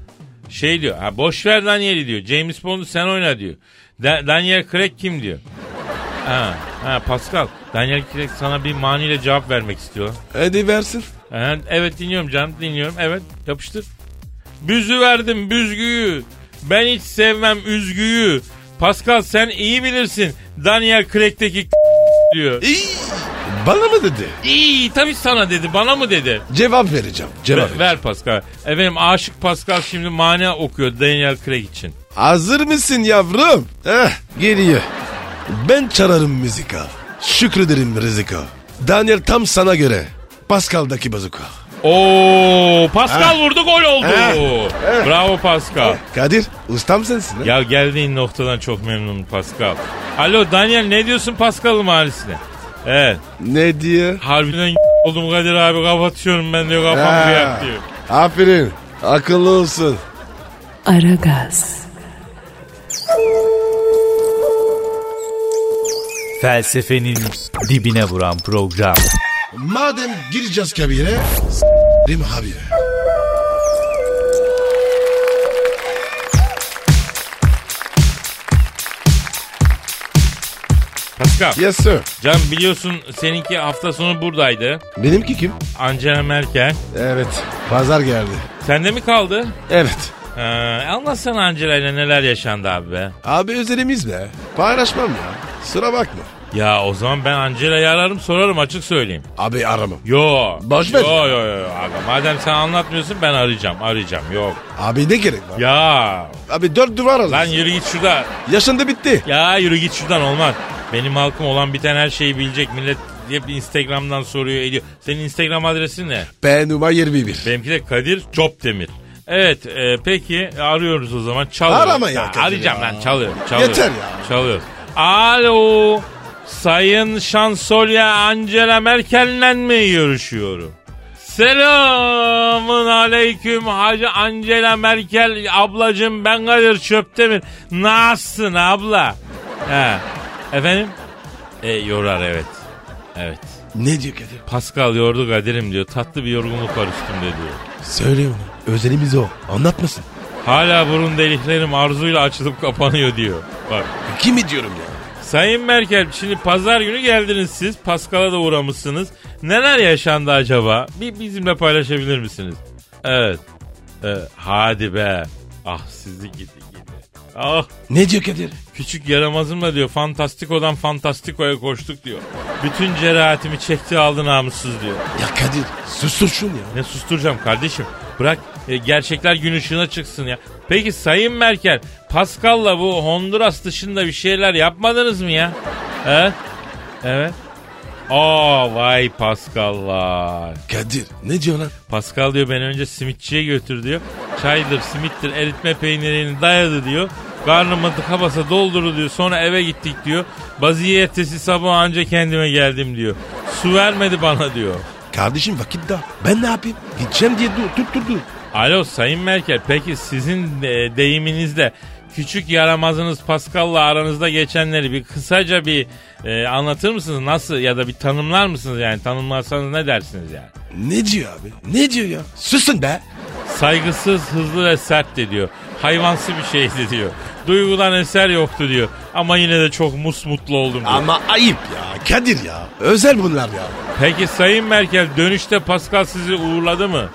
Speaker 2: Şey diyor. Ha boş ver Daniel'i diyor. James Bond'u sen oyna diyor. Da- Daniel Craig kim diyor? Ha, ha Pascal. Daniel Craig sana bir maniyle cevap vermek istiyor.
Speaker 3: Hadi versin.
Speaker 2: Ha, evet dinliyorum canım dinliyorum. Evet yapıştır. Büzü verdim büzgüyü. Ben hiç sevmem üzgüyü. Pascal sen iyi bilirsin. Daniel Craig'teki diyor.
Speaker 3: İyi. Bana mı dedi?
Speaker 2: İyi tabii sana dedi bana mı dedi.
Speaker 3: Cevap vereceğim. Cevap
Speaker 2: Ver,
Speaker 3: vereceğim.
Speaker 2: ver Pascal. Efendim aşık Pascal şimdi mana okuyor Daniel Craig için.
Speaker 3: Hazır mısın yavrum? Eh, geliyor. Ben çararım müzika. Şükrederim rizika. Daniel tam sana göre. Pascal'daki bazuka.
Speaker 2: Oo Pascal vurdu gol oldu.
Speaker 3: Ha.
Speaker 2: Bravo Pascal.
Speaker 3: Kadir ustam sensin. ha?
Speaker 2: Ya geldiğin noktadan çok memnunum Pascal. Alo Daniel ne diyorsun Pascal'ın mahallesine? Evet.
Speaker 3: Ne diyor?
Speaker 2: Harbiden oldum Kadir abi kapatıyorum ben diyor
Speaker 3: Ha.
Speaker 2: kafam kıyak diyor.
Speaker 3: Aferin. Akıllı olsun.
Speaker 1: Aragaz,
Speaker 6: Felsefenin dibine vuran program.
Speaker 3: Madem gireceğiz kabire. Rim abi.
Speaker 2: Pascal,
Speaker 3: Yes sir.
Speaker 2: can biliyorsun seninki hafta sonu buradaydı.
Speaker 3: Benimki kim?
Speaker 2: Angela Merkel.
Speaker 3: Evet. Pazar geldi.
Speaker 2: Sende mi kaldı?
Speaker 3: Evet.
Speaker 2: Ee, anlatsana Angela ile neler yaşandı abi be.
Speaker 3: Abi özelimiz be. Paylaşmam ya. Sıra bakma.
Speaker 2: Ya o zaman ben Angela'yı ararım sorarım açık söyleyeyim.
Speaker 3: Abi aramam.
Speaker 2: Yo.
Speaker 3: Boş
Speaker 2: yo,
Speaker 3: ver.
Speaker 2: yo yo yo. Aga, madem sen anlatmıyorsun ben arayacağım arayacağım yok.
Speaker 3: Abi ne gerek var?
Speaker 2: Ya
Speaker 3: Abi dört duvar arası.
Speaker 2: lan yürü git şurada.
Speaker 3: Yaşandı bitti.
Speaker 2: Ya yürü git şuradan olmaz. Benim halkım olan biten her şeyi bilecek. Millet hep Instagram'dan soruyor ediyor. Senin Instagram adresin ne?
Speaker 3: P numara 21.
Speaker 2: Benimki de Kadir Copdemir. Evet e, peki arıyoruz o zaman. Çalıyoruz.
Speaker 3: Arama ya
Speaker 2: Ha,
Speaker 3: Kadir
Speaker 2: Arayacağım
Speaker 3: ya.
Speaker 2: lan çalıyorum. çalıyorum.
Speaker 3: Yeter ya.
Speaker 2: Çalıyoruz. Alo. Sayın Şansolya Angela Merkel'le mi görüşüyorum? Selamın aleyküm Hacı Angela Merkel ablacım ben Kadir Çöptemir. Nasılsın abla? He. Efendim? E, yorar evet. Evet.
Speaker 3: Ne diyor Kadir?
Speaker 2: Pascal yordu Kadir'im diyor. Tatlı bir yorgunluk var üstümde diyor.
Speaker 3: Söyle onu. Özelimiz o. Anlatmasın.
Speaker 2: Hala burun deliklerim arzuyla açılıp kapanıyor diyor. Bak.
Speaker 3: Kimi diyorum ya?
Speaker 2: Sayın Merkel şimdi pazar günü geldiniz siz. Pascal'a da uğramışsınız. Neler yaşandı acaba? Bir bizimle paylaşabilir misiniz? Evet. Ee, hadi be. Ah sizi gidi gidi. Ah
Speaker 3: Ne diyor Kadir?
Speaker 2: Küçük yaramazımla diyor Fantastiko'dan Fantastiko'ya koştuk diyor. Bütün cerahatimi çekti aldı namussuz diyor.
Speaker 3: Ya Kadir sustur şunu ya.
Speaker 2: Ne susturacağım kardeşim? Bırak e, gerçekler gün ışığına çıksın ya. Peki Sayın Merkel, Pascal'la bu Honduras dışında bir şeyler yapmadınız mı ya? Evet. Evet. Aa vay Pascal vay.
Speaker 3: Kadir ne diyor lan?
Speaker 2: Pascal diyor beni önce simitçiye götür diyor. Çaydır, simittir, eritme peynirini dayadı diyor. Karnımı tıka basa doldurdu diyor. Sonra eve gittik diyor. Baziye ertesi sabah anca kendime geldim diyor. Su vermedi bana diyor.
Speaker 3: Kardeşim vakit daha. Ben ne yapayım? Gideceğim diye dur dur dur dur.
Speaker 2: Alo Sayın Merkel peki sizin e, deyiminizle küçük yaramazınız Pascal'la aranızda geçenleri bir kısaca bir e, anlatır mısınız? Nasıl ya da bir tanımlar mısınız yani tanımlarsanız ne dersiniz yani?
Speaker 3: Ne diyor abi? Ne diyor ya? Susun be.
Speaker 2: Saygısız, hızlı ve sertti diyor. Hayvansı bir şeydi diyor. Duygudan eser yoktu diyor. Ama yine de çok musmutlu oldum diyor.
Speaker 3: Ama ayıp ya Kadir ya. Özel bunlar ya.
Speaker 2: Peki Sayın Merkel dönüşte Pascal sizi uğurladı mı?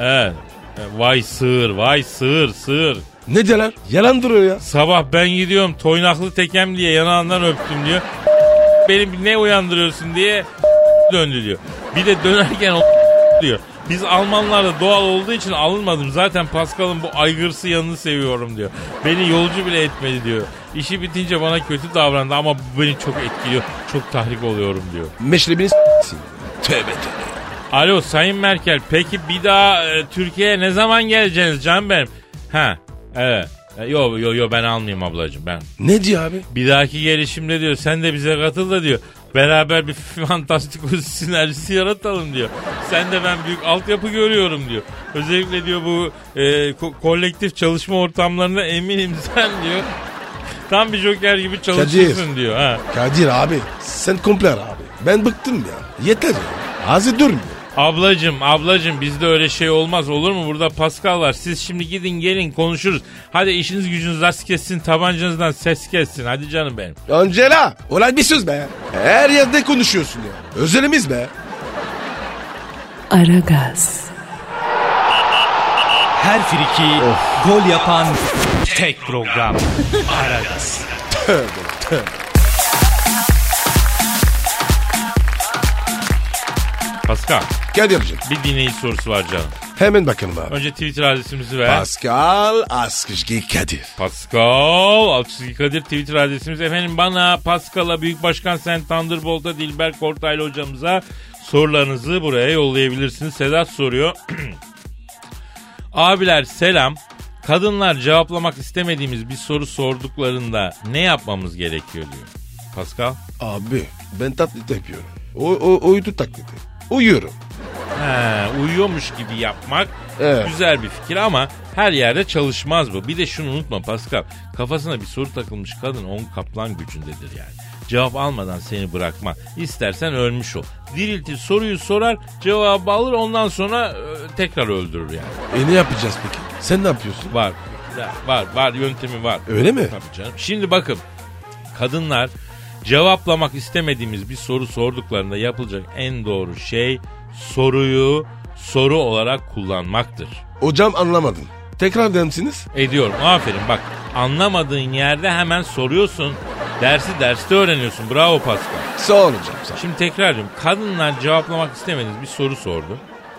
Speaker 2: Evet. E, Vay sığır, vay sığır, sığır.
Speaker 3: Ne diyor lan? Yalan duruyor ya.
Speaker 2: Sabah ben gidiyorum toynaklı tekem diye yanağından öptüm diyor. Benim ne uyandırıyorsun diye döndü diyor. Bir de dönerken o diyor. Biz Almanlarda doğal olduğu için alınmadım. Zaten Pascal'ın bu aygırsı yanını seviyorum diyor. Beni yolcu bile etmedi diyor. İşi bitince bana kötü davrandı ama bu beni çok etkiliyor. Çok tahrik oluyorum diyor.
Speaker 3: Meşrebini s**sin. Tövbe tövbe.
Speaker 2: Alo Sayın Merkel peki bir daha e, Türkiye'ye ne zaman geleceksiniz canım benim? Ha evet. E, Yo yo yo ben almayayım ablacığım ben.
Speaker 3: Ne diyor abi?
Speaker 2: Bir dahaki gelişimde diyor sen de bize katıl da diyor. Beraber bir fantastik sinerjisi yaratalım diyor. Sen de ben büyük altyapı görüyorum diyor. Özellikle diyor bu e, ko- kolektif çalışma ortamlarında eminim sen diyor. Tam bir joker gibi çalışırsın diyor. Ha.
Speaker 3: Kadir abi sen komple ara abi. Ben bıktım ya. Yeter ya. Ağzı durmuyor.
Speaker 2: Ablacım ablacım bizde öyle şey olmaz olur mu? Burada Pascal var. Siz şimdi gidin gelin konuşuruz. Hadi işiniz gücünüz rast kessin tabancanızdan ses kessin. Hadi canım benim.
Speaker 3: Angela olay bir söz be. Her yerde konuşuyorsun ya. Özelimiz be.
Speaker 1: Aragaz,
Speaker 4: Her friki gol yapan tek program. Aragaz.
Speaker 2: Pascal
Speaker 3: Kadir'cim
Speaker 2: bir dinleyici sorusu var canım.
Speaker 3: hemen bakalım abi.
Speaker 2: Önce Twitter adresimizi ver.
Speaker 3: Pascal Askışki Kadir.
Speaker 2: Pascal Altçizgi Kadir Twitter adresimiz efendim bana Pascal'a Büyük Başkan Sen Thunderbolt'a Dilber Kortaylı hocamıza sorularınızı buraya yollayabilirsiniz. Sedat soruyor. Abiler selam. Kadınlar cevaplamak istemediğimiz bir soru sorduklarında ne yapmamız gerekiyor diyor. Pascal.
Speaker 3: Abi ben taklit yapıyorum. O, o, uydu taklidi. Uyuyorum.
Speaker 2: He, uyuyormuş gibi yapmak
Speaker 3: Evet.
Speaker 2: güzel bir fikir ama her yerde çalışmaz bu. Bir de şunu unutma Pascal. Kafasına bir soru takılmış kadın on kaplan gücündedir yani. Cevap almadan seni bırakma. İstersen ölmüş ol. Diriltir soruyu sorar cevabı alır ondan sonra e, tekrar öldürür yani.
Speaker 3: E ne yapacağız peki? Sen ne yapıyorsun?
Speaker 2: Var ya, var var yöntemi var.
Speaker 3: Öyle mi?
Speaker 2: Tabii canım. Şimdi bakın kadınlar cevaplamak istemediğimiz bir soru sorduklarında yapılacak en doğru şey soruyu soru olarak kullanmaktır.
Speaker 3: Hocam anlamadım. Tekrar der misiniz?
Speaker 2: Ediyorum aferin bak anlamadığın yerde hemen soruyorsun dersi derste öğreniyorsun bravo Pascal.
Speaker 3: Sağ ol hocam sağ ol.
Speaker 2: Şimdi tekrar ediyorum kadınlar cevaplamak istemediğiniz bir soru sordu.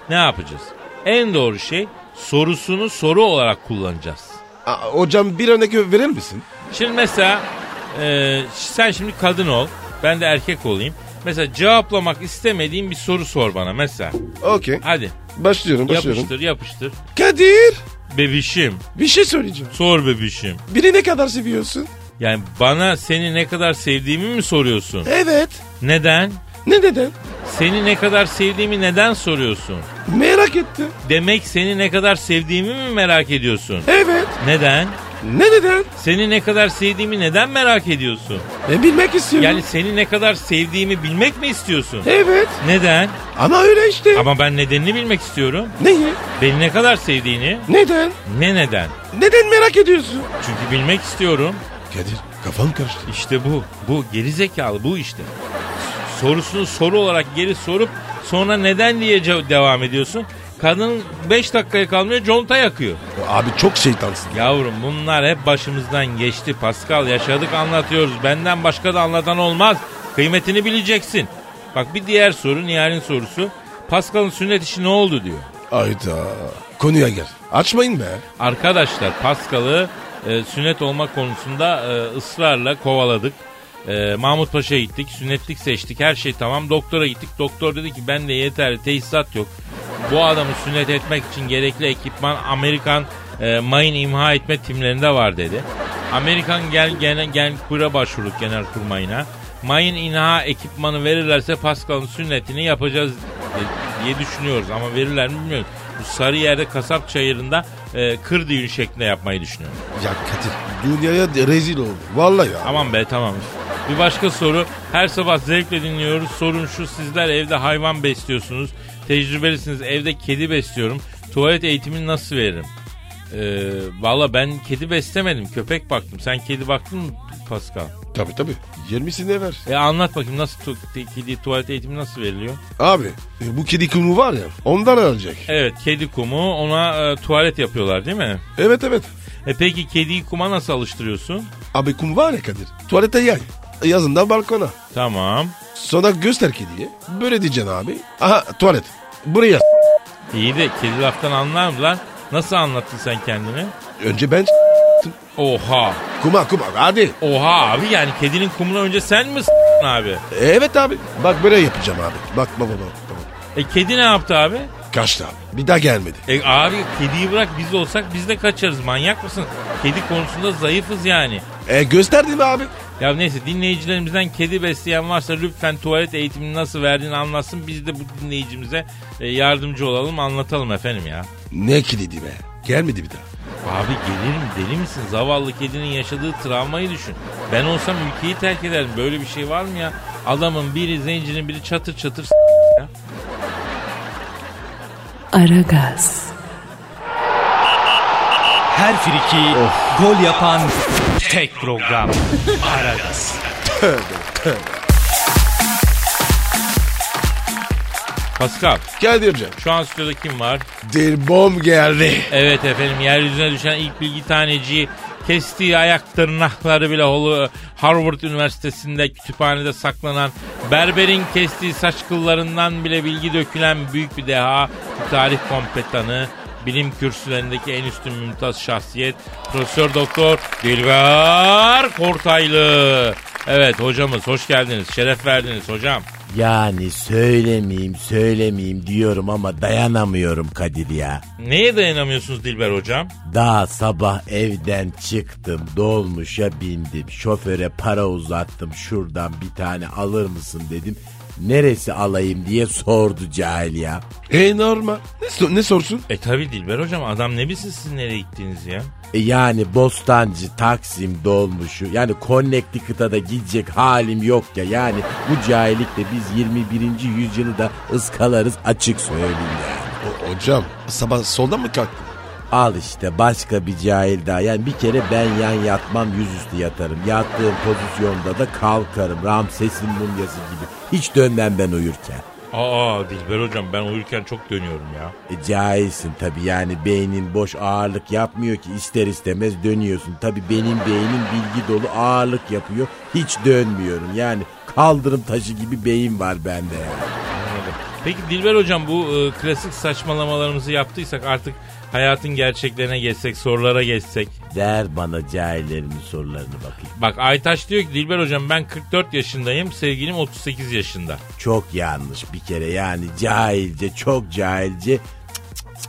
Speaker 2: Ne yapacağız? En doğru şey sorusunu soru olarak kullanacağız.
Speaker 3: Aa, hocam bir örnek verir misin?
Speaker 2: Şimdi mesela e, sen şimdi kadın ol. Ben de erkek olayım. Mesela cevaplamak istemediğin bir soru sor bana mesela.
Speaker 3: Okey.
Speaker 2: Hadi
Speaker 3: Başlıyorum başlıyorum.
Speaker 2: yapıştır yapıştır.
Speaker 3: Kadir
Speaker 2: Bebişim
Speaker 3: bir şey söyleyeceğim.
Speaker 2: sor bebişim.
Speaker 3: Biri ne kadar seviyorsun?
Speaker 2: Yani bana seni ne kadar sevdiğimi mi soruyorsun?
Speaker 3: Evet.
Speaker 2: Neden?
Speaker 3: Ne neden?
Speaker 2: Seni ne kadar sevdiğimi neden soruyorsun?
Speaker 3: Merak ettim.
Speaker 2: Demek seni ne kadar sevdiğimi mi merak ediyorsun?
Speaker 3: Evet.
Speaker 2: Neden?
Speaker 3: Ne neden?
Speaker 2: Seni ne kadar sevdiğimi neden merak ediyorsun?
Speaker 3: E bilmek istiyorum.
Speaker 2: Yani seni ne kadar sevdiğimi bilmek mi istiyorsun?
Speaker 3: Evet.
Speaker 2: Neden?
Speaker 3: Ama öyle işte.
Speaker 2: Ama ben nedenini bilmek istiyorum.
Speaker 3: Neyi?
Speaker 2: Beni ne kadar sevdiğini,
Speaker 3: Neden?
Speaker 2: ne neden?
Speaker 3: Neden merak ediyorsun?
Speaker 2: Çünkü bilmek istiyorum.
Speaker 3: Kadir kafam karıştı.
Speaker 2: İşte bu, bu geri zekalı bu işte. Sorusunu soru olarak geri sorup sonra neden diye ce- devam ediyorsun. Kadın 5 dakikaya kalmıyor conta yakıyor.
Speaker 3: Abi çok şeytansın.
Speaker 2: Yavrum bunlar hep başımızdan geçti Pascal yaşadık anlatıyoruz. Benden başka da anlatan olmaz. Kıymetini bileceksin. Bak bir diğer soru Nihal'in sorusu. Pascal'ın sünnet işi ne oldu diyor.
Speaker 3: Ayda. Konuya gel. Açmayın be.
Speaker 2: Arkadaşlar Paskal'ı e, sünnet olma konusunda e, ısrarla kovaladık. E, Mahmut Paşa'ya gittik, sünnetlik seçtik, her şey tamam. Doktora gittik, doktor dedi ki bende yeterli tesisat yok. Bu adamı sünnet etmek için gerekli ekipman Amerikan e, mayın imha etme timlerinde var dedi. Amerikan gel gene gel kura başvurduk genelkurmayına. Mayın inha ekipmanı verirlerse Pascal'ın sünnetini yapacağız e, diye düşünüyoruz ama verirler mi bilmiyoruz. Bu Sarıyer'de kasap çayırında e, kır düğün şeklinde yapmayı düşünüyorum.
Speaker 3: Ya Kadir dünyaya de rezil oldu. Vallahi ya.
Speaker 2: Aman be tamam. Bir başka soru. Her sabah zevkle dinliyoruz. Sorun şu sizler evde hayvan besliyorsunuz. Tecrübelisiniz evde kedi besliyorum. Tuvalet eğitimini nasıl veririm? Ee, Valla ben kedi beslemedim. Köpek baktım. Sen kedi baktın mı Pascal?
Speaker 3: Tabii tabii. 20'sine ver.
Speaker 2: E anlat bakayım nasıl tu- kedi tuvalet eğitimi nasıl veriliyor?
Speaker 3: Abi e, bu kedi kumu var ya ondan alacak.
Speaker 2: Evet kedi kumu ona e, tuvalet yapıyorlar değil mi?
Speaker 3: Evet evet.
Speaker 2: E peki kediyi kuma nasıl alıştırıyorsun?
Speaker 3: Abi kum var ya Kadir. Tuvalete yay. Yazından balkona.
Speaker 2: Tamam.
Speaker 3: Sonra göster kediye. Böyle diyeceksin abi. Aha tuvalet. Buraya.
Speaker 2: İyi de kedi laftan anlar mı lan? Nasıl anlattın sen kendini?
Speaker 3: Önce ben
Speaker 2: Oha.
Speaker 3: kuma kuma hadi.
Speaker 2: Oha abi yani kedinin kumuna önce sen mi s- abi?
Speaker 3: Evet abi. Bak böyle yapacağım abi. Bak baba baba. baba.
Speaker 2: E kedi ne yaptı abi?
Speaker 3: Kaçtı abi. Bir daha gelmedi.
Speaker 2: E abi kediyi bırak biz olsak biz de kaçarız manyak mısın? Kedi konusunda zayıfız yani.
Speaker 3: E gösterdim abi.
Speaker 2: Ya neyse dinleyicilerimizden kedi besleyen varsa lütfen tuvalet eğitimini nasıl verdiğini anlatsın. Biz de bu dinleyicimize e, yardımcı olalım anlatalım efendim ya.
Speaker 3: Ne kilidi be. Gelmedi bir daha.
Speaker 2: Abi gelir mi deli misin? Zavallı kedinin yaşadığı travmayı düşün. Ben olsam ülkeyi terk ederim. Böyle bir şey var mı ya? Adamın biri zencinin biri çatır çatır s- ya.
Speaker 1: Aragaz,
Speaker 4: Her friki gol yapan tek program. Aragaz.
Speaker 2: Pascal
Speaker 3: Kadir'cim.
Speaker 2: şu an stüdyoda kim var?
Speaker 3: Dil bom geldi.
Speaker 2: Evet efendim yeryüzüne düşen ilk bilgi taneciyi kestiği ayak tırnakları bile holu Harvard Üniversitesi'nde kütüphanede saklanan berberin kestiği saç kıllarından bile bilgi dökülen büyük bir deha bir tarih kompetanı bilim kürsülerindeki en üstün mümtaz şahsiyet Profesör Doktor Dilber Kortaylı. Evet hocamız hoş geldiniz. Şeref verdiniz hocam.
Speaker 9: Yani söylemeyeyim söylemeyeyim diyorum ama dayanamıyorum Kadir ya.
Speaker 2: Neye dayanamıyorsunuz Dilber hocam?
Speaker 9: Daha sabah evden çıktım dolmuşa bindim şoföre para uzattım şuradan bir tane alır mısın dedim. Neresi alayım diye sordu cahil ya.
Speaker 3: E normal. Ne, so- ne sorsun?
Speaker 2: E tabi Dilber hocam adam ne bilsin siz nereye gittiğinizi ya.
Speaker 9: E yani Bostancı, Taksim dolmuşu yani Connecticut'a da gidecek halim yok ya. Yani bu cahillikle biz 21. yüzyılı da ıskalarız açık söyleyeyim ya.
Speaker 3: O- hocam sabah soldan mı kalktın?
Speaker 9: Al işte başka bir cahil daha. Yani bir kere ben yan yatmam yüzüstü yatarım. Yattığım pozisyonda da kalkarım. Ramses'in mumyası gibi. Hiç dönmem ben uyurken.
Speaker 2: Aa Dilber hocam ben uyurken çok dönüyorum ya.
Speaker 9: E, cahilsin tabii yani beynin boş ağırlık yapmıyor ki ister istemez dönüyorsun. Tabii benim beynim bilgi dolu ağırlık yapıyor. Hiç dönmüyorum yani kaldırım taşı gibi beyin var bende ya.
Speaker 2: Peki Dilber hocam bu e, klasik saçmalamalarımızı yaptıysak artık hayatın gerçeklerine geçsek, sorulara geçsek.
Speaker 9: Ver bana cahillerimin sorularını bakayım.
Speaker 2: Bak Aytaş diyor ki Dilber hocam ben 44 yaşındayım, sevgilim 38 yaşında.
Speaker 9: Çok yanlış bir kere yani cahilce çok cahilce cık cık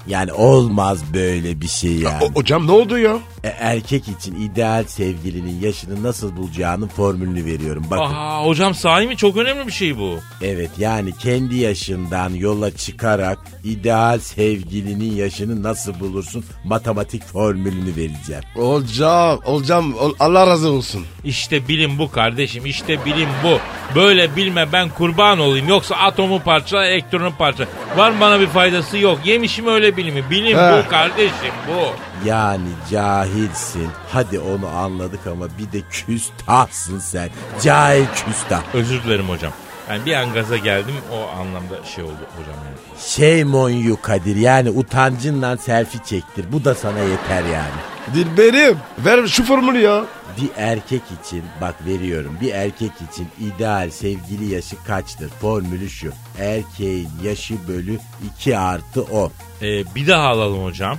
Speaker 8: Yani olmaz böyle bir şey yani.
Speaker 3: O- hocam ne oldu ya?
Speaker 8: E, erkek için ideal sevgilinin yaşını nasıl bulacağının formülünü veriyorum. Bakın
Speaker 2: Aha, hocam sahi mi? Çok önemli bir şey bu.
Speaker 8: evet yani kendi yaşından yola çıkarak ideal sevgilinin yaşını nasıl bulursun matematik formülünü vereceğim.
Speaker 3: Hocam, hocam ol- Allah razı olsun.
Speaker 2: İşte bilim bu kardeşim. işte bilim bu. Böyle bilme ben kurban olayım. Yoksa atomu parça, elektronu parça. Var mı bana bir faydası? Yok. Yemişim öyle bilimi. Bilim
Speaker 3: He.
Speaker 2: bu kardeşim bu.
Speaker 8: Yani cahilsin. Hadi onu anladık ama bir de küstahsın sen. Cahil küstah.
Speaker 2: Özür dilerim hocam. Yani bir an gaza geldim o anlamda şey oldu hocam yani.
Speaker 8: Shame on you Kadir. Yani utancınla selfie çektir. Bu da sana yeter yani.
Speaker 3: Dilberim, ver şu formülü ya.
Speaker 8: Bir erkek için bak veriyorum bir erkek için ideal sevgili yaşı kaçtır? Formülü şu erkeğin yaşı bölü 2 artı 10.
Speaker 2: Ee, bir daha alalım hocam.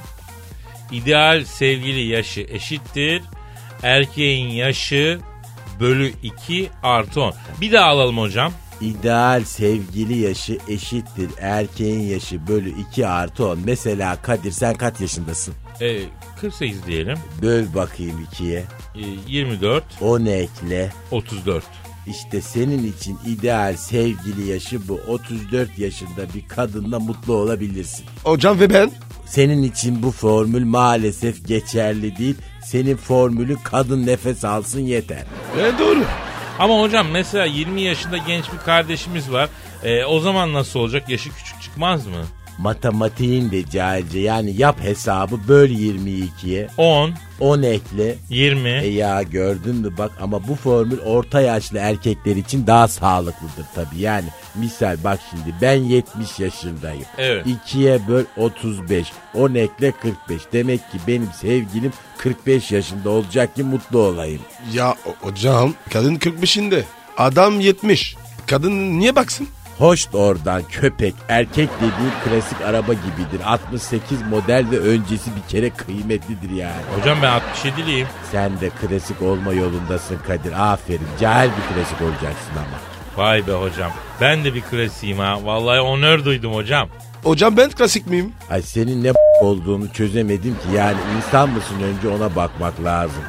Speaker 2: İdeal sevgili yaşı eşittir. Erkeğin yaşı bölü 2 artı 10. Bir daha alalım hocam.
Speaker 8: İdeal sevgili yaşı eşittir erkeğin yaşı bölü 2 artı 10. Mesela Kadir sen kaç yaşındasın?
Speaker 2: Ee, 48 diyelim.
Speaker 8: Böl bakayım 2'ye
Speaker 2: Ee, 24,
Speaker 8: 10 ekle
Speaker 2: 34.
Speaker 8: İşte senin için ideal sevgili yaşı bu 34 yaşında bir kadınla mutlu olabilirsin.
Speaker 3: Hocam ve ben.
Speaker 8: Senin için bu formül maalesef geçerli değil. Senin formülü kadın nefes alsın yeter.
Speaker 3: E, doğru.
Speaker 2: Ama hocam mesela 20 yaşında genç bir kardeşimiz var. Ee, o zaman nasıl olacak? Yaşı küçük çıkmaz mı?
Speaker 8: Matematiğin de cahilce yani yap hesabı böl 22'ye
Speaker 2: 10,
Speaker 8: 10 ekle.
Speaker 2: 20.
Speaker 8: E ya gördün mü bak ama bu formül orta yaşlı erkekler için daha sağlıklıdır tabii. Yani misal bak şimdi ben 70 yaşındayım.
Speaker 2: Evet.
Speaker 8: 2'ye böl 35. 10 ekle 45. Demek ki benim sevgilim 45 yaşında olacak ki mutlu olayım.
Speaker 3: Ya o- hocam, kadın 45'inde. Adam 70. Kadın niye baksın?
Speaker 8: Hoş oradan köpek erkek dediği klasik araba gibidir. 68 model ve öncesi bir kere kıymetlidir yani.
Speaker 2: Hocam ben 67'liyim.
Speaker 8: Sen de klasik olma yolundasın Kadir. Aferin. Cahil bir klasik olacaksın ama.
Speaker 2: Vay be hocam. Ben de bir klasiğim ha. Vallahi onör duydum hocam.
Speaker 3: Hocam ben klasik miyim?
Speaker 8: Ay senin ne olduğunu çözemedim ki. Yani insan mısın önce ona bakmak lazım.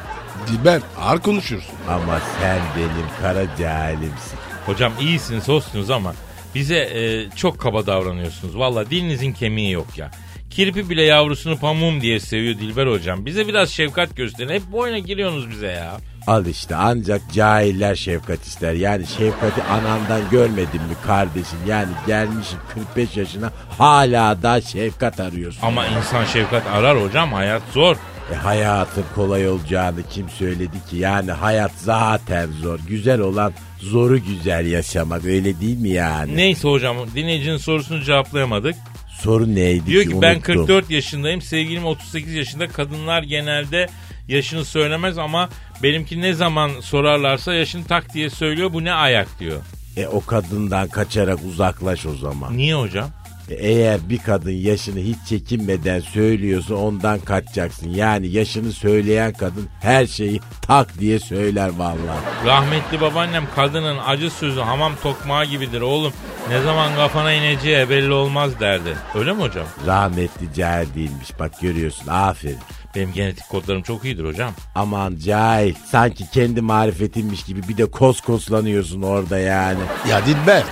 Speaker 3: Dilber, ağır konuşuyorsun.
Speaker 8: Ama sen benim kara cahilimsin.
Speaker 2: Hocam iyisiniz hoşsunuz ama bize e, çok kaba davranıyorsunuz. Vallahi dilinizin kemiği yok ya. Kirpi bile yavrusunu pamuğum diye seviyor Dilber hocam. Bize biraz şefkat gösterin. Hep boyuna giriyorsunuz bize ya.
Speaker 8: Al işte ancak cahiller şefkat ister. Yani şefkati anandan görmedin mi kardeşim? Yani gelmişim 45 yaşına hala da şefkat arıyorsun.
Speaker 2: Ama insan şefkat arar hocam. Hayat zor.
Speaker 8: E, hayatın kolay olacağını kim söyledi ki? Yani hayat zaten zor. Güzel olan zoru güzel yaşamak öyle değil mi yani?
Speaker 2: Neyse hocam dinleyicinin sorusunu cevaplayamadık.
Speaker 8: Soru neydi
Speaker 2: Diyor ki ben
Speaker 8: unuttum.
Speaker 2: 44 yaşındayım. Sevgilim 38 yaşında. Kadınlar genelde yaşını söylemez ama benimki ne zaman sorarlarsa yaşını tak diye söylüyor. Bu ne ayak diyor.
Speaker 8: E, o kadından kaçarak uzaklaş o zaman.
Speaker 2: Niye hocam?
Speaker 8: E, Eğer bir kadın yaşını hiç çekinmeden söylüyorsa ondan kaçacaksın. Yani yaşını söyleyen kadın her şeyi tak diye söyler vallahi.
Speaker 2: Rahmetli babaannem kadının acı sözü hamam tokmağı gibidir oğlum. Ne zaman kafana ineceği belli olmaz derdi. Öyle mi hocam?
Speaker 8: Rahmetli cahil değilmiş bak görüyorsun aferin.
Speaker 2: Benim genetik kodlarım çok iyidir hocam.
Speaker 8: Aman cahil sanki kendi marifetinmiş gibi bir de koskoslanıyorsun orada yani.
Speaker 3: Ya Dilber,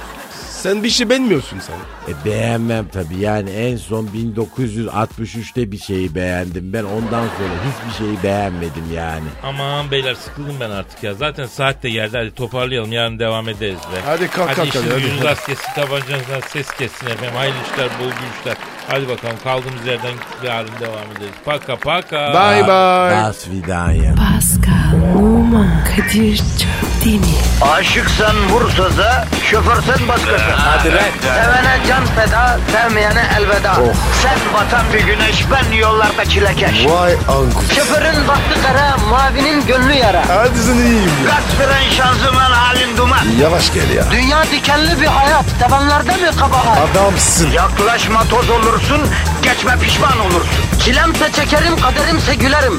Speaker 3: sen bir şey beğenmiyorsun sen.
Speaker 8: E beğenmem tabii yani en son 1963'te bir şeyi beğendim ben ondan sonra hiçbir şeyi beğenmedim yani.
Speaker 2: Aman beyler sıkıldım ben artık ya. Zaten saat de geldi. Hadi toparlayalım. Yarın devam ederiz be.
Speaker 3: Hadi kalk, kalk,
Speaker 2: işiniz
Speaker 3: hadi, hadi.
Speaker 2: gücünüz az kessin. Tabancanızdan ses kessin efendim. Hayırlı işler, bol güçler. Hadi bakalım kaldığımız yerden yarın devam ederiz. Paka paka.
Speaker 3: Bye bye.
Speaker 8: Dasvidanya.
Speaker 1: Pascal, Oman, Kadir çok değil mi?
Speaker 10: Aşıksan vursa da, şoförsen başkasın. Hadi Sevene can feda, sevmeyene elveda. Sen batan bir güneş, ben yollarda çilekeş.
Speaker 3: Vay anku.
Speaker 10: Şoförün baktı kara, mavinin gönlü yara.
Speaker 3: Hadi sen iyiyim ya.
Speaker 10: Kasperen şanzıman halin duman.
Speaker 3: Yavaş gel ya.
Speaker 10: Dünya dikenli bir hayat, sevenlerde mi kabahar?
Speaker 3: Adamsın.
Speaker 10: Yaklaşma toz olursun, geçme pişman olursun. Çilemse çekerim, kaderimse gülerim.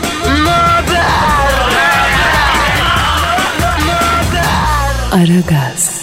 Speaker 10: Möber!
Speaker 1: Aragaz.